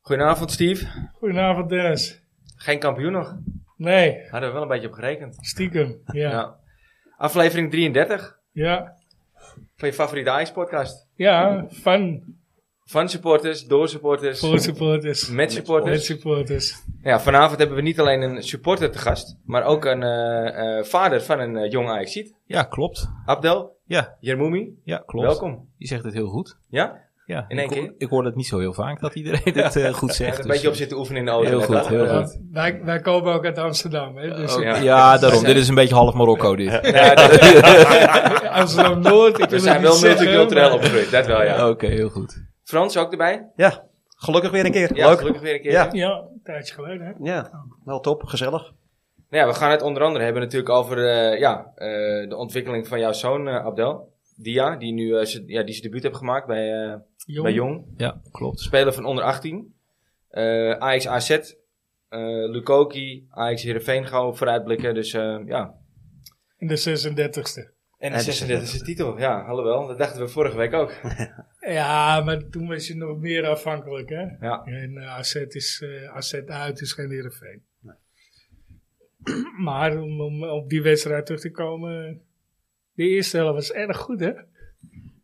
Goedenavond, Steve. Goedenavond Dennis. Geen kampioen nog. Nee, Hadden we wel een beetje op gerekend. stiekem. Ja. ja. Ja. Aflevering 33 ja. van je favoriete IJs-podcast. fun Van supporters, door supporters, voor supporters. met Met supporters. supporters. Ja, vanavond hebben we niet alleen een supporter te gast, maar ook een eh, eh, vader van een eh, jong ajax Ja, klopt. Abdel, Ja, Jermoumi, ja klopt. welkom. Je zegt het heel goed. Ja? Ja, In één ik, hoor- keer? ik hoor het niet zo heel vaak dat iedereen het eh, goed Ik zegt. heb een dus- beetje op zitten oefenen in de auto. Heel net, goed, hè? heel Ja. goed. Want wij, wij komen ook uit Amsterdam. Hè? Dus Oh, ja. Ja. daarom. Dit is een beetje half Marokko dit. Oké, Nou, dat- Amsterdam Noord. Ik we wil zijn het niet wel zeggen, multicultureel maar- opgegroeid, dat wel ja. heel goed. Frans ook erbij. Ja, gelukkig weer een keer. Ja, Leuk. gelukkig weer een keer. Ja. hè? Ja, een tijdje geleden. Hè? Ja, wel top, gezellig. Nou ja, we gaan het onder andere hebben natuurlijk over eh, ja, eh, de ontwikkeling van jouw zoon eh, Abdel. Dia, die nu eh, z'n- ja, die zijn debuut heeft gemaakt bij, eh, Jong. bij Jong. Ja, klopt. Speler van onder 18. Eh Ajax AZ. eh Lukoki, Ajax Heerenveen gaan we vooruitblikken. Dus eh, ja. In de 36e. En de de 36e 36e titel. Ja, alhoewel. Dat dachten we vorige week ook. Ja, maar toen was je nog meer afhankelijk. Hè? Ja. En eh, AZ, is, eh, AZ uit is geen Heerenveen. Maar om, om op die wedstrijd terug te komen. De eerste helft was erg goed, hè?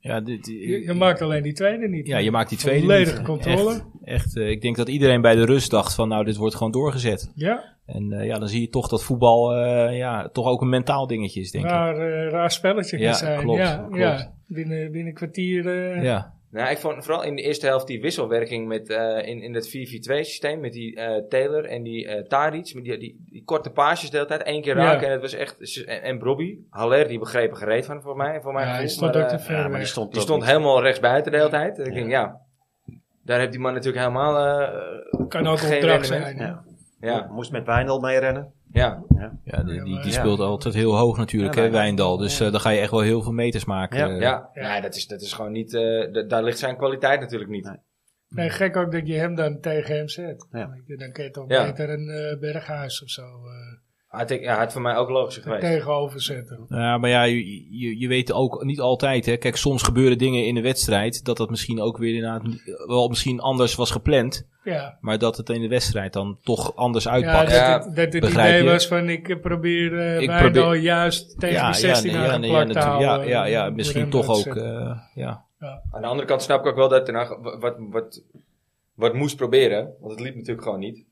Ja, dit, Je, je maakt alleen die tweede niet. ja, je maakt die tweede Volledige niet. controle. Echt, echt eh, ik denk dat iedereen bij de rust dacht van nou, dit wordt gewoon doorgezet. Ja, En eh, ja, dan zie je toch dat voetbal eh, ja, toch ook een mentaal dingetje is, denk ik. raar, eh, raar spelletje Ja, kan zijn. klopt, ja, klopt. ja. Binnen, binnen kwartier. eh, Ja, Nou, ik vond vooral in de eerste helft die wisselwerking met, eh, in, in dat 4-4-2 systeem. Met die eh, Taylor en die eh Taric. Met die, die, die korte paasjes de hele tijd. één keer Ja. raken. En het was echt... En, en Robbie. Haller, die begreep er gereed van voor mij. Voor mij ja, hij gevoel, stond maar, ook te eh, ver. Ja, maar die weg. stond, die ook stond niet. helemaal rechts buiten de hele tijd. En ik denk, ja... Daar heeft die man natuurlijk helemaal... eh, kan ook geen opdracht rendement. zijn. Ja. ja, Moest met Wijndal meerennen. ja. ja de- die, die Ja. speelt altijd heel hoog natuurlijk, Ja, hè, maar- Wijndal. Dus eh, dan ga je echt wel heel veel meters maken. Ja. eh. Ja, Nee, dat, is, dat is gewoon niet... eh, da- daar ligt zijn kwaliteit natuurlijk niet. Nee. Nee, gek ook dat je hem dan tegen hem zet. Ja. Weet je, Dan kun je toch Ja. beter een eh, berghuis of zo eh, Had, ik, ja, had voor mij ook logisch geweest. tegenover zetten. Ja, maar ja, je, je, je weet ook niet altijd. Hè. Kijk, soms gebeuren dingen in de wedstrijd dat dat misschien ook weer inderdaad niet- wel misschien anders was gepland. Ja. Maar dat het in de wedstrijd dan toch anders Ja, dat, uitpakt. Ja, het, dat het begrijp idee je. was van ik eh, probeer eh, Ik Wijndal probeer- juist tegen die 16 nee, aan de nee, plak te natuurlijk. houden. ja, ja, ja, Door misschien hem toch eruit ook. te zetten. eh, ja. Aan de andere kant snap ik ook wel dat Ten Hag wat, wat, wat, wat moest proberen. Want het liep natuurlijk gewoon niet.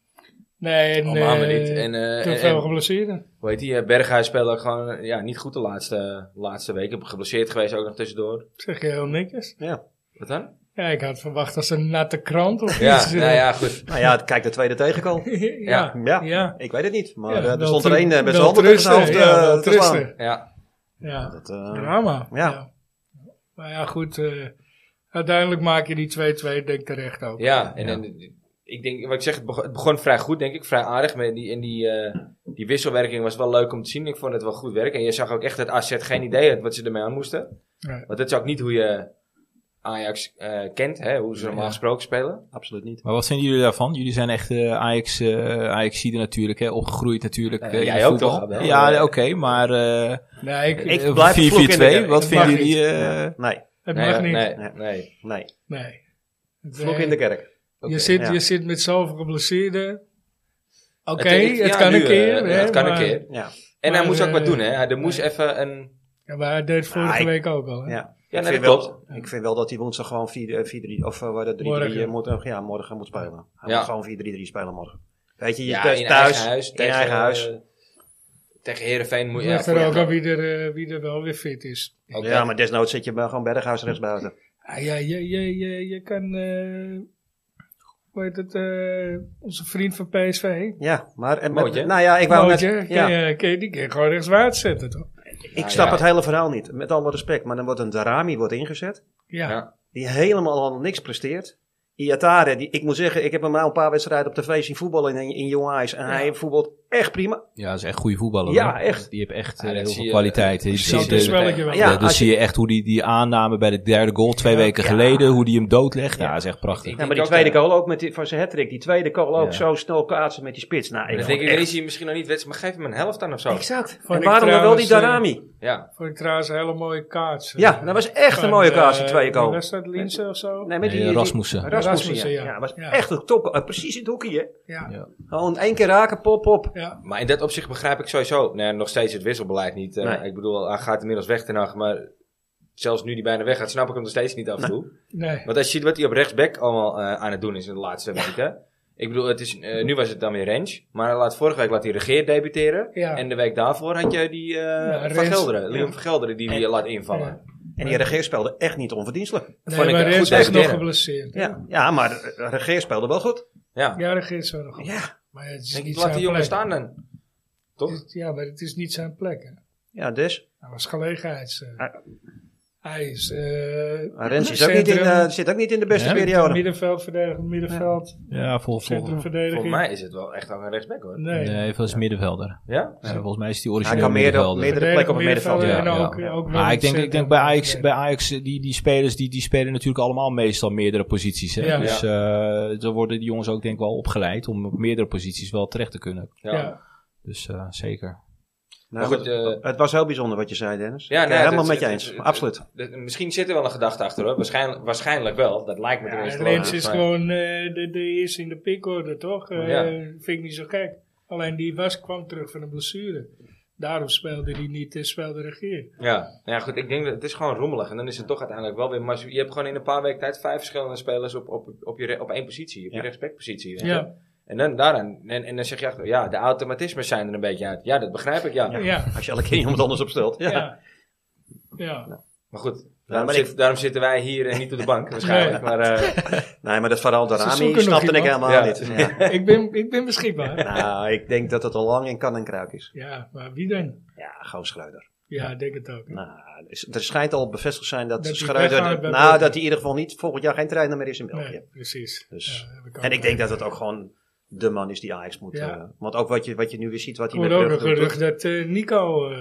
Nee, en, Al maanden eh, niet. En, eh, te en- veel en- geblesseerden. Hoe heet die? eh, Berghuis speelde ook gewoon eh, ja, niet goed de laatste, laatste weken. Geblesseerd geweest ook nog tussendoor. Zeg je heel netjes. Ja. Wat dan? Ja, ik had verwacht als een natte krant of Ja, iets. eh. nou ja, goed. Nou ja, kijk de tweede tegenkool. ja. Ja. Ja. Ik weet het niet, maar Ja, eh, er wel stond er tru- één eh, met wel zijn handen tussen zijn hoofd trusten, ja, wel eh, te slaan. trusten. Ja, Ja, Dat, eh, drama. ja. Maar ja, goed. eh, uiteindelijk maak je die 2-2, denk ik terecht ook. ja. En, en ik denk, wat ik zeg, het begon, het begon vrij goed, denk ik. Vrij aardig. Maar die, en die, eh, die wisselwerking was wel leuk om te zien. Ik vond het wel goed werk. En je zag ook echt dat AZ geen idee had wat ze ermee aan moesten. Nee. Want dat is ook niet hoe je Ajax eh, kent, hè, hoe ze normaal Ja. gesproken spelen. Absoluut niet. Maar wat vinden jullie daarvan? Jullie zijn echt eh, Ajax, eh Ajax-zieden natuurlijk, hè, opgegroeid natuurlijk. Eh, eh, in jij het ook voetbal. toch, Abel? Ja, oké, maar eh Nee, ik, Ik eh, blijf vloeken in 4-4-2, de wat kerk. vinden Mag jullie? niet. eh, Nee, het nee, mag niet. Nee. Nee, nee. nee. Vloek in de kerk. Je, Oké. zit, ja. je zit met zoveel geblesseerden. Oké, Het- het, het- ja, kan nu, een keer. eh, hè, het kan een maar- keer. Ja. En hij Maar, moest ook wat eh, doen, hè? Hij moest even een. Ja, maar hij deed vorige Ah, ik- week ook al. Hè? ja. Ja, ik, nee, vind dat wel, ik vind wel dat hij woensdag gewoon 4-3 of eh, waar dat 3-3 Morgen. eh, moet, eh, ja, morgen moet spelen. Hij Ja. moet gewoon 4-3-3 spelen morgen. Weet je, je Ja, speelt in thuis, eigen huis. in tegen, eigen huis. eh, tegen Herenveen moet Het je. ligt voor- er ook aan wie er, eh, wie er wel weer fit is. Oké. Ja, maar desnoods zit je maar gewoon Berghuis rechtsbuiten. Ah, ja, je, je, je, je kan. eh hoe heet het? eh, onze vriend van PSV. Ja, maar... en met- Mootje. nou ja, ik wou net... Mootje, ja. Kun je, kun je die keer gewoon rechtswaarts zetten, toch? Ik Ja, snap ja. het hele verhaal niet, met alle respect. Maar dan wordt een Darami wordt ingezet, Ja. Ja. die helemaal al niks presteert. Iatare, die, ik moet zeggen, ik heb hem al een paar wedstrijden op tv zien voetballen in, in Jong Ajax. En Ja. hij voetbalt echt prima. Ja, dat is echt goede voetballer. Ja, hoor. echt. Die heeft echt Ja, eh, dat heel zie veel je, kwaliteit. Die- precies. die- Zelfs is een de- spelletje wel. Ja, Ja, dus als zie je echt hoe die, die aanname bij de derde goal twee weken geleden, hoe die hem doodlegt. Ja, dat is echt prachtig. Ik Ja, denk maar die ook, tweede ja. goal ook met die, van zijn hat die tweede goal ook Ja. zo snel kaatsen met die spits. Nou, ik Dan vond denk ik, echt- dan is hij misschien nog niet wedstrijd, maar geef hem een helft aan of zo. Exact. Vond en ik waarom dan wel die trouwens, eh, Darami? Ja, Vond ik trouwens een hele mooie kaart. eh, ja, dat was echt een mooie kaas, die tweede goal. Was dat Linse of zo? Nee, met Nee, die, die- Rasmussen. Rasmussen, Rasmussen, ja. ja. Ja, was Ja. echt een top. eh, precies in het hoekje, hè. Ja. Ja. ja. Gewoon één keer raken, pop, pop. maar in dat opzicht begrijp ik sowieso nou, ja, nog steeds het wisselbeleid niet. eh, Nee. Ik bedoel, hij gaat inmiddels weg ten Hag, maar zelfs nu die bijna weg gaat, snap ik hem nog steeds niet af en toe. Nee. Want als je ziet wat hij op rechtsback allemaal eh, aan het doen is in de laatste weken. Ik bedoel, het is, eh, nu was het dan weer Rens, maar hij laat, vorige week laat hij Regeer debuteren. Ja. En de week daarvoor had je die eh Van Rens. Gelderen, Liam Van Gelderen, die hij laat invallen. En die regeer speelde echt niet onverdienstelijk. Nee, vond ik maar goed Rens was debuteren. nog geblesseerd. Ja, ja maar de regeer speelde wel goed. Ja, Ja, dat is zo nog Oh. goed. Ja, Maar het is Denk niet ik, laat zijn die jongen plek. staan eh, dan. Toch? Het- Ja, maar het is niet zijn plek. Hè. ja dus. Hij was gelegenheids... eh, Ah. hij is... eh Maar Rens is ook niet in, Centrum. eh, zit ook niet in de beste Nee. periode. middenveld verdedigend middenveld, Ja, volgens mij. Voor centrumverdediging. mij is het wel echt ook een rechtsback hoor. Nee. Nee, dat is middenvelder. Ja? Ja, volgens mij is die origineel Hij kan meerdere- middenvelder. meerdere- Verdedigend plek op het middenveld, middenvelder ja, en ook, ja. eh, ook wel Maar ik het denk, ik centrum. denk bij Ajax, bij Ajax eh, die, die spelers die, die spelen natuurlijk allemaal meestal meerdere posities. Hè? Ja. Dus eh dan worden die jongens ook denk ik wel opgeleid om op meerdere posities wel terecht te kunnen. Ja. Ja. Dus eh, zeker. Nou, Maar goed, eh, het was heel bijzonder wat je zei, Dennis. Ja, Ja, nee, helemaal dat- met je het- eens. het- Absoluut. De- Misschien zit er wel een gedachte achter hoor. Waarschijnlijk, waarschijnlijk wel. Dat lijkt me Ja, tenminste. wel. Rens is Maar- gewoon eh, de, de eerste in de pickorde, toch? Eh, Ja. Vind ik niet zo gek. Alleen die was, kwam terug van een blessure. Daarom speelde hij niet en speelde regeer. Ja. Nou ja, goed. Ik denk dat het is gewoon rommelig. En dan is het toch uiteindelijk wel weer. Maar je hebt gewoon in een paar weken tijd vijf verschillende spelers op, op, op, je, re- op één positie. Op Ja. je rechtsbackpositie. weet je. Ja, En dan daaraan. En, en dan zeg je achter, ja, de automatismes zijn er een beetje uit. Ja, dat begrijp ik ja. ja, ja. Als je elke keer iemand anders opstelt. Ja. ja. ja. Maar goed. Ja, Daarom, maar zit- daarom zitten wij hier en niet op de bank waarschijnlijk. Maar eh, Nee, maar dat verhaal Darami zoeken nog snapte ik iemand. helemaal Ja. niet. Ja. ik, ben, ik ben beschikbaar. nou, ik denk dat het al lang in kan en kruik is. Ja, maar wie dan? Ja, gewoon Schreuder. Ja, ik denk het ook. Nou, dus er schijnt al bevestigd te zijn dat, Dat hij weggaat Schreuder... bij Nou, België. dat hij in ieder geval niet volgend jaar geen trainer meer is in België. Nee, precies. Dus- Ja, heb En ook. ik denk dat het ook gewoon de man is die Ajax moet... Ja. eh, want ook wat je, wat je nu weer ziet, wat Er hij wordt met ook een Brugge doet. gerucht dat eh, Nico eh,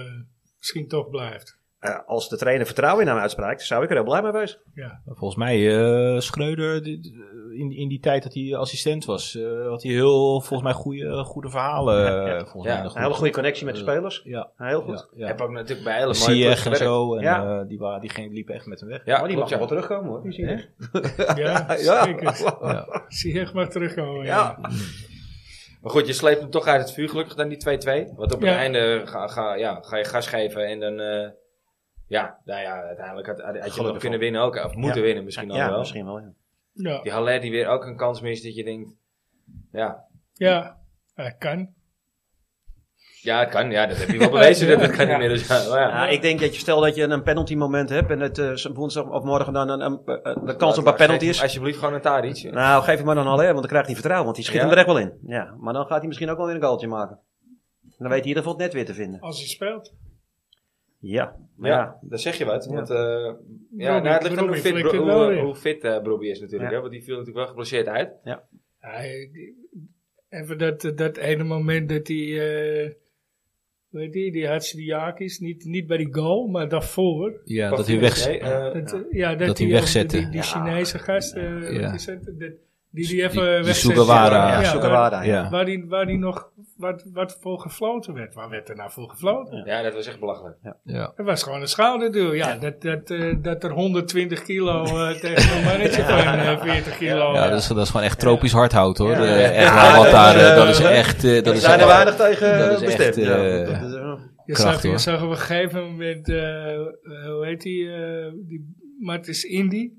misschien toch blijft. Eh, als de trainer vertrouwen in hem uitspreekt, zou ik er heel blij mee zijn. Volgens mij, eh, Schreuder, die- die- in, in die tijd dat hij assistent was, eh, had hij heel, volgens mij, goede, goede verhalen. Ja, ja. eh, Volgens Ja, mij, Een hele goede connectie met de Ja. spelers. Ja, Heel goed. ja, ja. heb ook natuurlijk bij hele mooie clubs Ziyech en gewerkt. zo, en, Ja. eh, die, waren, die gingen- liepen echt met hem weg. Ja, maar Oh, die mag klopt, ja. nog wel terugkomen hoor. Die zie je. Ja, Ja. zeker. Ja. Ziyech mag terugkomen. Ja. Maar goed, je sleept hem toch uit het vuur, gelukkig dan die 2-2. Want op Ja. het einde ga, ga, ja, ga je gas geven en dan... eh, ja, nou ja, uiteindelijk had, had- had je Gelukkig nog kunnen winnen ook. Of moeten Ja. winnen misschien al Ja, wel. misschien wel. Ja. Ja. Die Haller die weer ook een kans mist dat je denkt... Ja, Ja, hij kan. ja het kan. Ja, dat heb je wel bewezen dat het kan Ja. inmiddels. Ja, maar ja. Ja, ik denk dat je stel dat je een penalty moment hebt en het eh, woensdag of morgen dan een, een, een- de kans op een Laat- penalty geef is. hem Alsjeblieft gewoon een Tadic. Nou, geef hem maar dan Haller, want dan krijgt hij vertrouwen, want die schiet Ja? hem er echt wel in. Ja, maar dan gaat hij misschien ook wel weer een goaltje maken. Dan weet hij in ieder geval het net weer te vinden. Als hij speelt. Ja, maar ja. Ja, daar zeg je wat. Ja. Want eh, ja, Brobbey- nou, het ligt aan hoe Brobbey fit, flikt het Bro- wel hoe, weer. hoe fit eh, Brobbey is natuurlijk. Ja. Hè? Want die viel natuurlijk wel geblesseerd uit. Hij, even dat, dat ene moment dat hij, eh weet je, die Hatsidiakis, niet, niet bij die goal, maar daarvoor. Ja, Pakt dat hij weg... Nee, eh, Dat, eh, ja, dat, Dat die, hij wegzette. Die, die Chinese gast, eh, Ja. wat is het? Dat- die die die even wegzette. Sugawara. Ja, Ja, Sugawara, ja. Ja. Waar die, waar die nog, wat, wat voor gefloten werd. Waar werd er nou voor gefloten? ja, dat was echt belachelijk. Ja. Het was gewoon een schouderduel. Ja, Dat, dat, eh, dat er 120 kilo eh, tegen een mannetje van eh, 40 kilo. Ja, dat is, dat is gewoon echt tropisch hardhout hoor. Oh, Ja. Eh, echt Ja, waar, wat dat daar, is, eh, eh, dat is echt... eh, dat Er is zijn er echt- weinig tegen dat is echt, bestemd. ja. eh, Dat is, eh, Je, Kracht, zag, je hoor. zag op een gegeven moment, eh, eh, hoe heet die, eh die Martis Indy.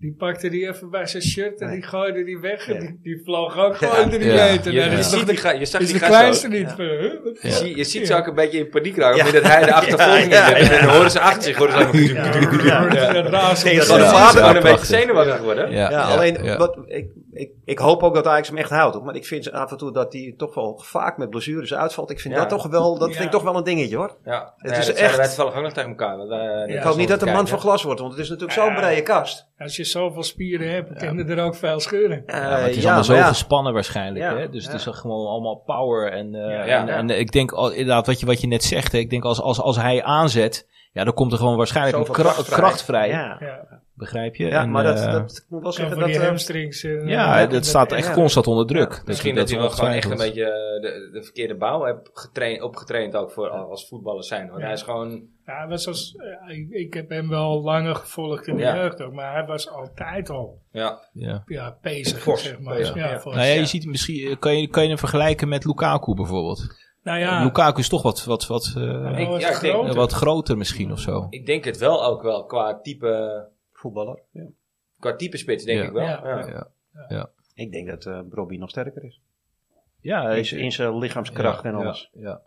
Die pakte die even bij zijn shirt en die gooide die weg. En Ja. die, die vloog ook Ja. gewoon door die Ja. eten. Je, Nou, je dat is ziet toch die, de, ga- je zag is die de gast ook. kleinste niet. eh, van, huh? Wat- Je, Ja. ziet- je ziet ze Ja. ook een beetje in paniek raken. Ja. omdat hij de achtervolging Ja, is. En dan horen ze achter zich. Horen ze allemaal- Dat Ja. raast Nee, op. dat is Gewoon Ja, de vader gewoon een prachtig. beetje zenuwachtig worden. Ja, Ja, ja, alleen ja. Wat, ik, ik, ik hoop ook dat Ajax hem echt houdt. hoor. Maar ik vind af en toe dat hij toch wel vaak met blessures uitvalt. Ik vind Ja. dat toch wel, dat Ja. vind ik toch wel een dingetje hoor. Ja. Het Ja, is dat echt- zeiden wij toevallig ook nog tegen elkaar. want wij, eh, Ja, ik dat hoop niet dat we een man kijken. van glas wordt, want het is natuurlijk Ja. zo'n brede kast. Eh, Als je zoveel spieren hebt, kunnen er ook veel scheuren. Ja, maar het is allemaal zo gespannen waarschijnlijk. Ja, Hè? Dus het ja. is gewoon allemaal power. En, eh, Ja, ja. en, en ik denk al- inderdaad, wat je, wat je net zegt, hè, ik denk als, als, als hij aanzet, ja, dan komt er gewoon waarschijnlijk een Zoveel kra- kracht kracht, vrij. vrij. Ja, Ja, Begrijp je? ja En, maar dat, eh, dat, ik moet wel en zeggen voor dat... die eh, hamstrings. eh, ja, dat staat echt ja. constant onder druk. Dat- Misschien dat, dat is hij wel gewoon echt een ongetwijfeld. beetje eh, de, de verkeerde bouw hebt getraind, opgetraind ook voor als voetballer zijn. Want Ja. hij is gewoon... Ja, hij was als, eh, ik, ik heb hem wel langer gevolgd in de Ja. jeugd ook, maar hij was altijd al Ja, Ja. ja, pezig, Fors, zeg maar. pezig, ja, ja. fors. Nou ja, je Ja. ziet misschien, eh, kan je, kan je hem vergelijken met Lukaku bijvoorbeeld. Nou ja, Lukaku is toch wat, wat, wat, eh, hij Ik- was ja, ik denk- groter. eh, wat groter misschien of zo. ik denk het wel ook wel qua type, voetballer. Ja. qua type spits, denk Ja. ik wel. Ja. Ja. Ja, Ik denk dat eh Robbie nog sterker is. ja In zijn- in zijn lichaamskracht en ja, alles. Ja, ja.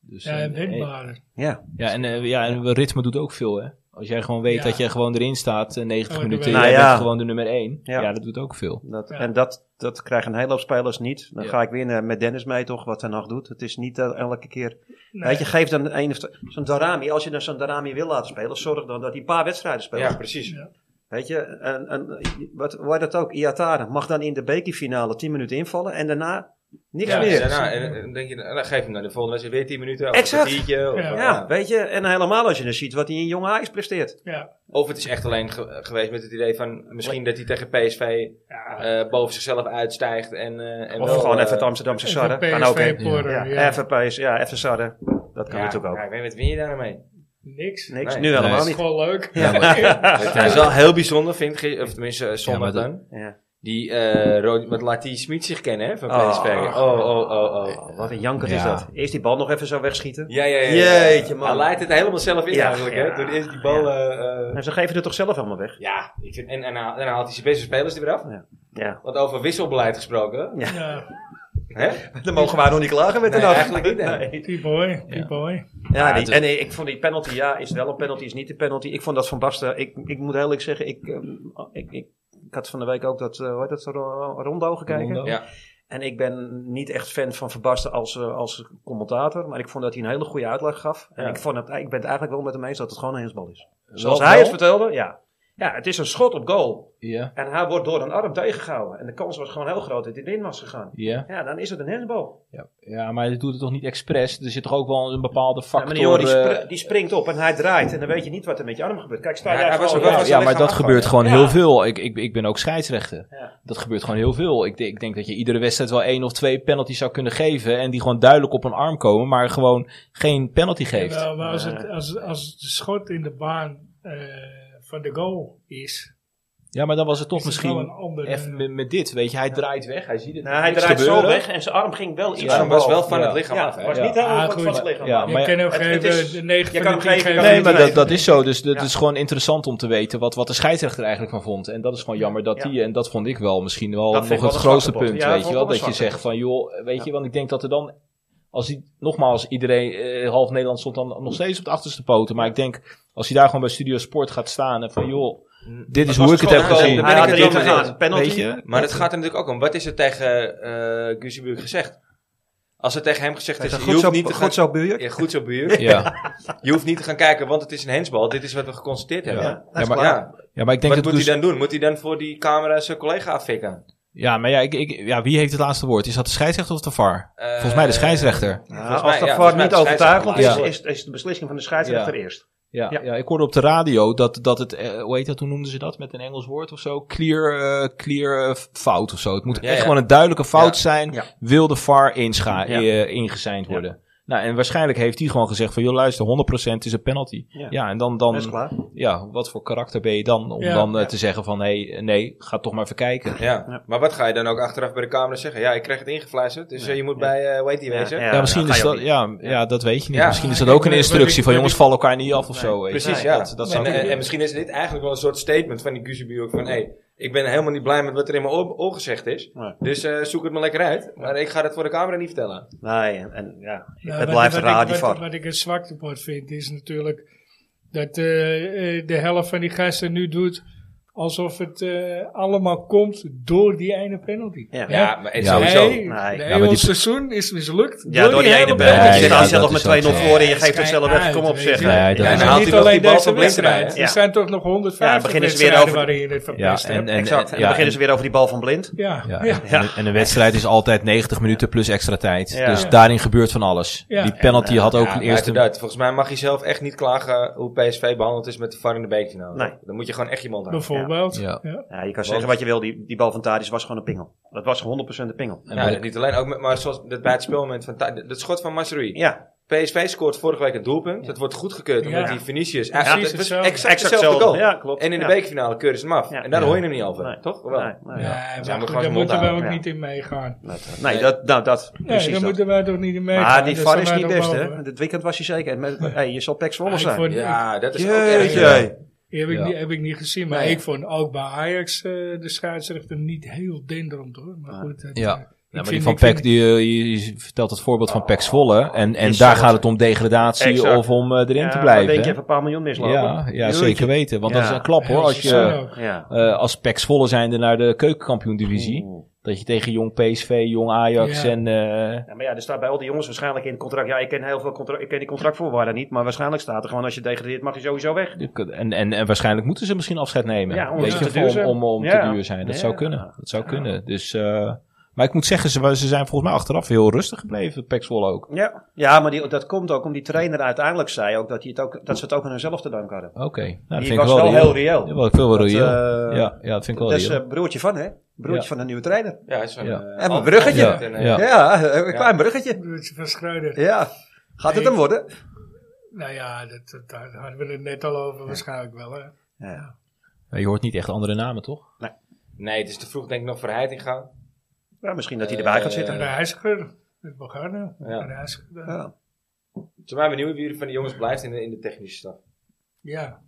Dus, ja, eh, wendbaarder. Ja. Ja, en, eh, ja, en ritme doet ook veel, hè. Als jij gewoon weet Ja. dat je gewoon erin staat, eh, 90 Oh, minuten, nou jij ja. bent gewoon de nummer 1. Ja. Ja. dat doet ook veel. Dat, Ja. En dat, dat krijgen een hele hoop spelers niet. Dan Ja. ga ik weer naar- met Dennis mee toch, wat hij nog doet. Het is niet dat elke keer... Nee. Weet je, geef dan een of twee- Zo'n Darami, als je dan zo'n Darami wil laten spelen, zorg dan dat hij een paar wedstrijden speelt. Ja, precies. Ja. Weet je, en, en wat, waar dat ook, Iataren mag dan in de bekerfinale 10 minuten invallen en daarna niks Ja, meer. en daarna, en, en denk je, nou, dan geef hem dan de volgende wedstrijd weer 10 minuten. Of Exact. een kwartiertje. Of, Ja. eh, Ja, weet je, en helemaal als je dan ziet wat hij in jonge Ajax presteert. Ja, of het is echt alleen ge- geweest met het idee van misschien dat hij tegen PSV ja. eh, boven zichzelf uitstijgt. En, eh, en Of wel, gewoon eh, even het Amsterdamse Even sarren. Kan ook, hè. PSV porren, Ja, ja. even PS, ja, even sarren. Dat kan ja, natuurlijk ook. Ja, ik weet, wat win je daarmee? Niks. Niks, Nee. nu helemaal Nee. Dat is niet. gewoon leuk. Ja, maar- Het is wel heel bijzonder, vind ik. Of tenminste, eh, zondag Ja, maar dan. Ja. Die, eh Ro- wat laat die Smit zich kennen, hè? Van Oh. PSV. Oh, oh, oh, oh. Oh, wat een janker is Ja. dat. Eerst die bal nog even zo wegschieten. Ja, ja, ja. Jeetje, man. Hij leidt het helemaal zelf in Ja, eigenlijk, hè? ja. Door eerst die bal... eh, eh, En ze geven het toch zelf helemaal weg. ja, ik vind, en, en, haal- en haalt hij zijn beste spelers er weer af. Ja. Want over wisselbeleid gesproken, Ja, hè? Dan mogen wij nog niet klagen met Nee, eigenlijk niet, hè? die boy, die Ja. boy. Ja, Ja, die- het- en ik vond die penalty, ja, is het wel een penalty, is niet een penalty. Ik vond dat van Basten, ik, ik moet eerlijk zeggen, ik, ehm, ik, ik, ik had van de week ook dat, eh, hoe heet dat, Ro- Rondo gekeken. Rondo. Ja. En ik ben niet echt fan van Van Basten als, eh, als commentator, maar ik vond dat hij een hele goede uitleg gaf. En Ja. ik, vond het, ik ben het eigenlijk wel met hem eens dat het gewoon een hensbal is. Wel- Zoals hij het wel? vertelde, ja. Ja, het is een schot op goal. Ja. En hij wordt door een arm tegengehouden. En de kans was gewoon heel groot dat hij erin was gegaan. Ja. Ja, dan is het een hensbal. ja, ja, maar hij doet het toch niet expres? Er zit toch ook wel een bepaalde Ja, factor... maar die, jongen, die, eh, spr- die springt op en hij draait. En dan weet je niet wat er met je arm gebeurt. Kijk, sta Ja, jij hij was gewoon- ook wel ja, van ja, zijn ja, maar lichaam dat afgaan, gebeurt ja. gewoon Ja. heel veel. Ik, ik, ik ben ook scheidsrechter. Ja. Dat gebeurt gewoon heel veel. Ik, denk- ik denk dat je iedere wedstrijd wel één of twee penalties zou kunnen geven. En die gewoon duidelijk op een arm komen, maar gewoon geen penalty geeft. Jawel, Nou, maar als, Nee. het, als, als de schot in de baan eh, van de goal is, Ja, maar dan was het toch is het wel een misschien... ander. Even met, met dit, weet je. Hij draait weg, hij ziet het. Nou, hij niks draait zo gebeuren. weg en zijn arm ging wel iets Ja, omhoog. was wel van Ja. het lichaam Ja, af, hè? was Ja. niet helemaal Ah, van goed. het lichaam. Ja, af. je maar kan hem het- het is- geven, 9 je van kan de hem 10 geven, je geven kan Nee, hem hem maar niet dat, niet. dat is zo. Dus dat Ja. is gewoon interessant om te weten wat, wat de scheidsrechter er eigenlijk van vond. En dat is gewoon jammer dat Ja. die, en dat vond ik wel misschien wel Dat nog vind het ik wel een grootste zwakke punt, bot. Ja, weet dat je vond wel. ik wel Dat je een zegt van, joh, weet je, want ik denk dat er dan, als hij, nogmaals, iedereen, eh, half Nederland stond dan nog steeds op de achterste poten. Maar ik denk, als hij daar gewoon bij Studio Sport gaat staan en van, joh, dit is was hoe ik het heb gewoon een- gezien. daar ben ik Ja, het dit wel is- mee eens. Penalty. Weet je? Maar het gaat er natuurlijk ook om. Wat is er tegen eh Guzebuurk gezegd? Als er tegen hem gezegd is, je Goed hoeft zo, niet te gaan... goed zo buur. Ja, goed zo, buur. Ja. Je hoeft niet te gaan kijken, want het is een hensbal. Dit is wat we geconstateerd hebben. Ja. Ja. dat is maar- klaar. ja, maar ik denk Wat dat dus- moet Guus- hij dan doen? Moet hij dan voor die camera zijn collega afvikken? Ja, maar ja, ik, ik, ja, wie heeft het laatste woord? Is dat de scheidsrechter of de VAR? Eh, Volgens mij de scheidsrechter. Ja, Volgens als mij- de ja, VAR volgens mij niet de overtuigend is, scheidsrechter. is, is de beslissing van de scheidsrechter Ja. eerst. Ja, ja. Ja. ik hoorde op de radio dat, dat het, eh, hoe heet dat, hoe noemden ze dat met een Engels woord of zo? Clear, eh, clear eh, fout of zo. Het moet Ja, echt ja. gewoon een duidelijke fout Ja. zijn, Ja. wil de VAR inscha- Ja. eh, ingezeind worden. Nou, en waarschijnlijk heeft hij gewoon gezegd van, joh luister, 100% is een penalty. Ja, Ja. en dan, Dat is dan klaar. ja, wat voor karakter ben je dan om Ja. dan eh, te zeggen van, hé, hey, nee, ga toch maar even kijken. Ja. Ja. maar wat ga je dan ook achteraf bij de camera zeggen? Ja, ik kreeg het ingefluisterd, dus Nee. eh, je moet Ja. bij, eh hoe heet die wezen? Ja, misschien ga is je ook dat, niet. ja, ja, dat weet je niet. Ja. Misschien is Ja, dat ook ik een weet- instructie weet- van, weet- jongens, val elkaar niet af of Nee, zo. weet je. Precies, Nee, ja. dat- dat zou en, eh, kunnen. en misschien is dit eigenlijk wel een soort statement van die Guzebuurk van... Hé, hey, ik ben helemaal niet blij met wat er in mijn oor, oor gezegd is. Nee. Dus eh, zoek het maar lekker uit. Maar ik ga dat voor de camera niet vertellen. Nee, en, en ja, Ja, het Nou, wat- blijft wat raar, ik- die wat, VAR. wat ik een zwaktepunt vind, is natuurlijk dat eh, eh, de helft van die gasten nu doet alsof het eh, allemaal komt door die ene penalty. Ja. Ja, maar het Ja. sowieso. Nee, nee, maar die- ons seizoen is mislukt. Ja, door die ene bel. penalty. Je Ja, staat dat zelf is met 2-0 ook zo. voor en Ja, je geeft het schijnt zelf weg. uit, Kom op, weet zeg. je. Nee, Ja, dat is- En dan haalt niet hij nog alleen die bal deze van Blind erbij, wedstrijd. hè? Er Ja. zijn toch nog 150 Ja, beginnen ze weer wedstrijden over- waarin je dit Ja, verpest en, hebt. en, Exact. En ja, dan beginnen ze weer over die bal van Blind. Ja, Ja, ja. En, en een wedstrijd is altijd 90 minuten plus extra tijd. Ja. Dus Ja. daarin gebeurt van alles. Ja. Die penalty had ook eh, Ja, een maar eerste... uiteraard. Volgens mij mag je zelf echt niet klagen hoe PSV behandeld is met de VAR in de bekerfinale. Nee. Dan moet je gewoon echt iemand aan. bijvoorbeeld. Ja. Ja. Ja, je kan zeggen wat je wil. Die, die bal van Tadis was gewoon een pingel. Dat was 100% een pingel. Ja, dat niet alleen, ook met, maar zoals dat bij het speelmoment van... Ta- Dat schot van Masrui. Ja, PSV scoort vorige week een doelpunt. Dat wordt goedgekeurd omdat Ja. die Vinicius... Precies Ja, het was hetzelfde. exact, hetzelfde goal. Ja, klopt. En in de Ja. bekerfinale keuren ze hem af. Ja. En daar Ja. hoor je hem niet over, Nee. toch? Of wel? Nee, nee, Ja, ja. maar Zijn we goed, gewoon daar mond moeten we ook houden, ja. niet in meegaan. Dat- Nee, dat, nou, dat, Nee, precies daar dat. moeten wij toch niet in meegaan. Dus Maar die Daar VAR staan is wij niet toch best, hè? boven. Dit weekend was hij zeker. En met, hey, je zal Pek Zwolle Ah, ik zijn. vond- Ja, dat is ook echt... Jeetje. Die heb ik, Ja. niet, heb ik niet gezien. Maar Nee. ik vond ook bij Ajax eh, de scheidsrechter niet heel denderend hoor. Maar Ah. goed. het, Ja. eh, ik Ja, maar die vind- van ik vind- Pek, die, eh, je, je vertelt het voorbeeld van Pek Zwolle. En, en Is daar zo. gaat het om degradatie Exact. of om eh, erin Ja, te dan blijven. denk je hè? even een paar miljoen mislopen. ja, ja Jeetje. zeker weten. Want dat Ja. is een klap hoor. heel Als seizoen je ook. Ja. eh als Pek Zwolle zijnde naar de keukenkampioen-divisie. Oeh. Dat je tegen jong PSV, jong Ajax Ja. en... eh, Ja, maar ja, er staat bij al die jongens waarschijnlijk in het contract. Ja, ik ken heel veel contract, ik ken die contractvoorwaarden niet. Maar waarschijnlijk staat er gewoon als je degradeert mag je sowieso weg. en, en, en waarschijnlijk moeten ze misschien afscheid nemen. Ja, omdat Weet ze je, te duur om, zijn. om, om Ja. te duur zijn. Dat Ja. zou kunnen. Dat zou Ja. kunnen. Dus, eh, maar ik moet zeggen, ze, wa- ze zijn volgens mij achteraf heel rustig gebleven. Pek Zwolle ook. Ja, ja maar die, dat komt ook omdat die trainer uiteindelijk zei ook dat, die het ook, dat ze het ook aan hunzelf te danken hadden. Oké. Nou, dat Die vind ik was wel heel reëel. Ja, wel- ik vind wel Dat, reëel. eh, ja, ja, dat vind ik wel Dat is reëel. eh, broertje van, hè? Broertje Ja. van de nieuwe trainer. Ja, zo'n... Ja. eh, En een al- bruggetje. Ja. En, eh, Ja. Ja, eh, ik Ja. wou een bruggetje. Broertje van Schreuder. Ja. Gaat het Nee. hem worden? Nou ja, dat, dat- daar hadden we het net al over waarschijnlijk wel. Hè? Ja. Ja, Je hoort niet echt andere namen, toch? Nee, het is te vroeg denk ik nog voor Heitinga. Ja, misschien dat hij erbij gaat zitten. Eh, De Reiziger. Met Bogarde. Ja. De Reiziger. Ja. Ja. Ik ben benieuwd wie er van de jongens blijft in de, in de technische staf. ja,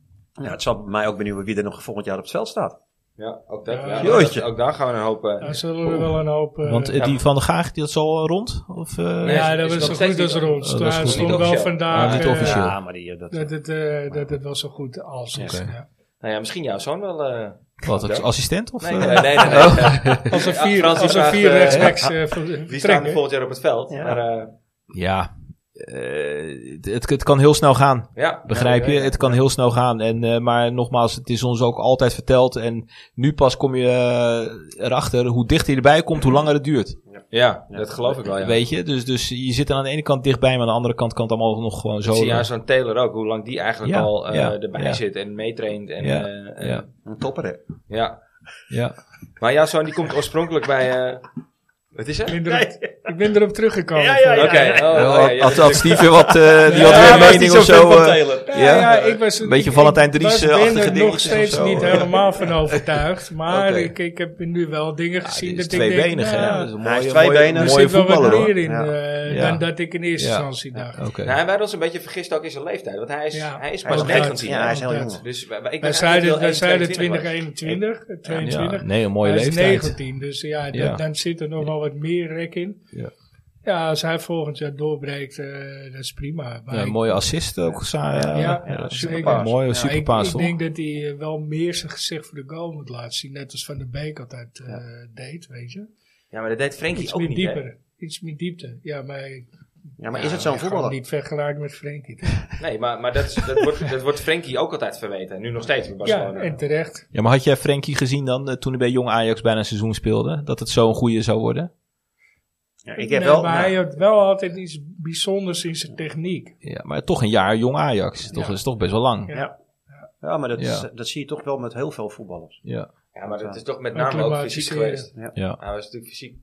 het zal mij ook benieuwen wie er nog volgend jaar op het veld staat. Ja, ook, dat, Ja. ja, Jeetje. ook daar gaan we een hoop... eh, Daar zullen we wel een hoop... eh, Want eh, ja, die maar- van de Gaag, die dat is al rond? Of, eh, Nee, ja, is- dat is nog was zo steeds goed als niet- rond. Oh, dat is Daar goed. stond Niet wel officieel. vandaag... Ah, niet eh, officieel. Ja, maar die, eh, dat, dat, het, eh, dat het wel zo goed als is. Oké. Ja. Nou ja, misschien jouw zoon wel. eh Wat, als Ja. assistent? Of, Nee, eh? nee, nee. nee, nee. Als er Ja, vier, Frans, die als er vraagt, vier eh, rechtsbacks eh, ver- Wie vertrekken. staan er volgend jaar op het veld? Ja. Maar, eh, Ja, eh, het, het kan heel snel gaan. ja. Begrijp Ja, je? ja, ja. Het kan heel snel gaan. En, eh, maar nogmaals, het is ons ook altijd verteld. En nu pas kom je eh, erachter hoe dichter je erbij komt, hoe langer het duurt. Ja, dat geloof ik wel, Oh, ja. Weet je? Dus, dus je zit er aan de ene kant dichtbij, maar aan de andere kant kan het allemaal nog gewoon zo. eh, Ik zie aan zo'n Taylor ook, hoe lang die eigenlijk Ja, al eh, ja, erbij ja. zit en meetraint. En, Ja, eh, eh, ja. een topper, hè? ja. Ja. Maar jouw zoon die komt oorspronkelijk bij... eh, wat is het? Ik ben erop, ik ben erop teruggekomen. Ja, ja, Oké. ja. oh, oh, ja, ja, had, had natuurlijk. Steven wat, eh, die Ja, had hij weer een was mening of zo. eh, Ja, Ja. ja, ik was, Een beetje ik- ik Valentijn was Driessen-achtige ben er nog dingetjes of steeds zo, niet hoor. helemaal van overtuigd. Maar Oké. ik, ik heb nu wel dingen ja, gezien dit is dat ik denk, tweebenig, hè? Ja, nou, dat is een Hij mooie, is tweebenig. mooie, er mooie zit wel wat voetballer hoor. meer in Ja. eh, Ja. dan dat ik in eerste Ja. instantie dacht. Oké. Nou, wij hadden ons een beetje vergist ook in zijn leeftijd. Want hij is, Ja. hij is Hij pas is nog 19. Ja, hij is heel Altijd. jong. Dus wij- wij- ik Wij dacht eigenlijk zeiden, wij dat hij zeiden 21 was. 2021, 22. Ja, nee, een mooie Hij is leeftijd. 19, dus ja, Ja. Dan, dan zit er nog wel wat meer rek in. Ja. Ja, als hij volgend jaar doorbreekt, eh, dat is prima. Maar Ja, een ik- mooie assist ook. Ja, ja, Ja, ja, zeker. Mooie Ja, ik- superpaas, ik, toch? denk dat hij eh, wel meer zijn gezicht voor de goal moet laten zien. Net als Van der Beek altijd eh, deed, weet je. Ja, maar dat deed Frenkie Iets ook meer niet, dieper. hè? Iets meer diepte. Ja, maar, Ja, maar is het zo'n voetballer? niet vergelijken met Frenkie. Nee, maar, maar dat, is- dat, wordt, dat wordt Frenkie ook altijd verweten. Nu nog steeds bij Ja, Barcelona. eh, en terecht. Ja, maar had jij Frenkie gezien dan, eh, toen hij bij Jong Ajax bijna een seizoen speelde, dat het zo'n goede zou worden? Ja, ik heb Nee, wel... maar nou, hij had wel altijd iets bijzonders in zijn techniek. Ja, maar toch een jaar Jong Ajax. Toch, Ja. Dat is toch best wel lang. Ja. ja, maar dat, is- Ja. dat zie je toch wel met heel veel voetballers. Ja. Ja, maar dat is toch met Maar name ook fysiek klimatiseren. geweest. ja. Hij was natuurlijk fysiek.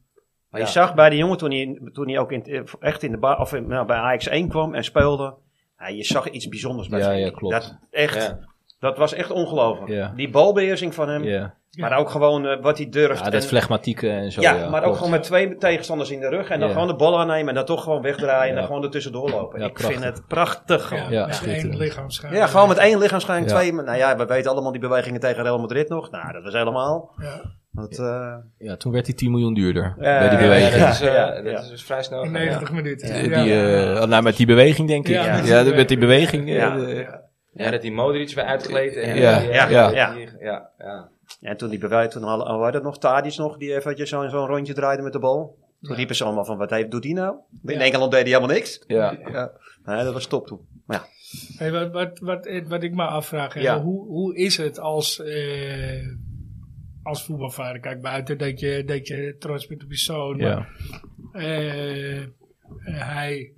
Maar Ja. je zag bij die jongen toen hij, in- toen hij ook in, echt in de ba- of in- nou, bij Ajax 1 kwam en speelde. ja, je zag iets bijzonders bij Ja, hem. ja, klopt. Dat, echt, Ja. dat was echt ongelooflijk. Ja. Die balbeheersing van hem. Ja. Maar ook gewoon eh, wat hij durft. Ja, en- dat flegmatieke en zo. ja, maar ook klopt. gewoon met twee tegenstanders in de rug. En dan Ja. gewoon de bal aannemen en dan toch gewoon wegdraaien. En Ja. dan gewoon ertussendoor lopen. Ja, ik prachtig. vind het prachtig. Ja, gewoon. Ja, ja, met één schitterend. lichaamschaar. Ja, gewoon met één lichaamschijn, Ja. twee. Nou ja, we weten allemaal die bewegingen tegen Real Madrid nog. Nou, dat was helemaal. Ja. Dat, eh, Ja, toen werd hij 10 miljoen duurder. Ja, bij die Ja, beweging. dat is, eh, Ja, dat ja. is dus vrij snel. In gegaan, ja. 90 minuten. eh, oh, Die, eh, nou, met die beweging denk ik. Ja, Ja, met die met die beweging. Ja. eh, eh, Ja, dat die Modric weer uitgleed. En Ja, die, eh, ja, die- ja. die- ja, ja. En toen liepen wij, toen hadden hadden we dat nog, Tadic nog, die eventjes zo'n zo'n rondje draaide met de bal. Toen Ja. riepen ze allemaal van, wat heeft, doet die nou? In Ja. Engeland deed hij helemaal niks. Ja. Ja. Nee, dat was top toen. Maar ja, Hey, wat, wat, wat, eh, wat ik me afvraag, hè, Ja. hoe, hoe is het als, eh, als voetbalvader? Kijk, buiten dat je, dat je trots bent op je zoon. maar, Ja. Nou, eh, eh, hij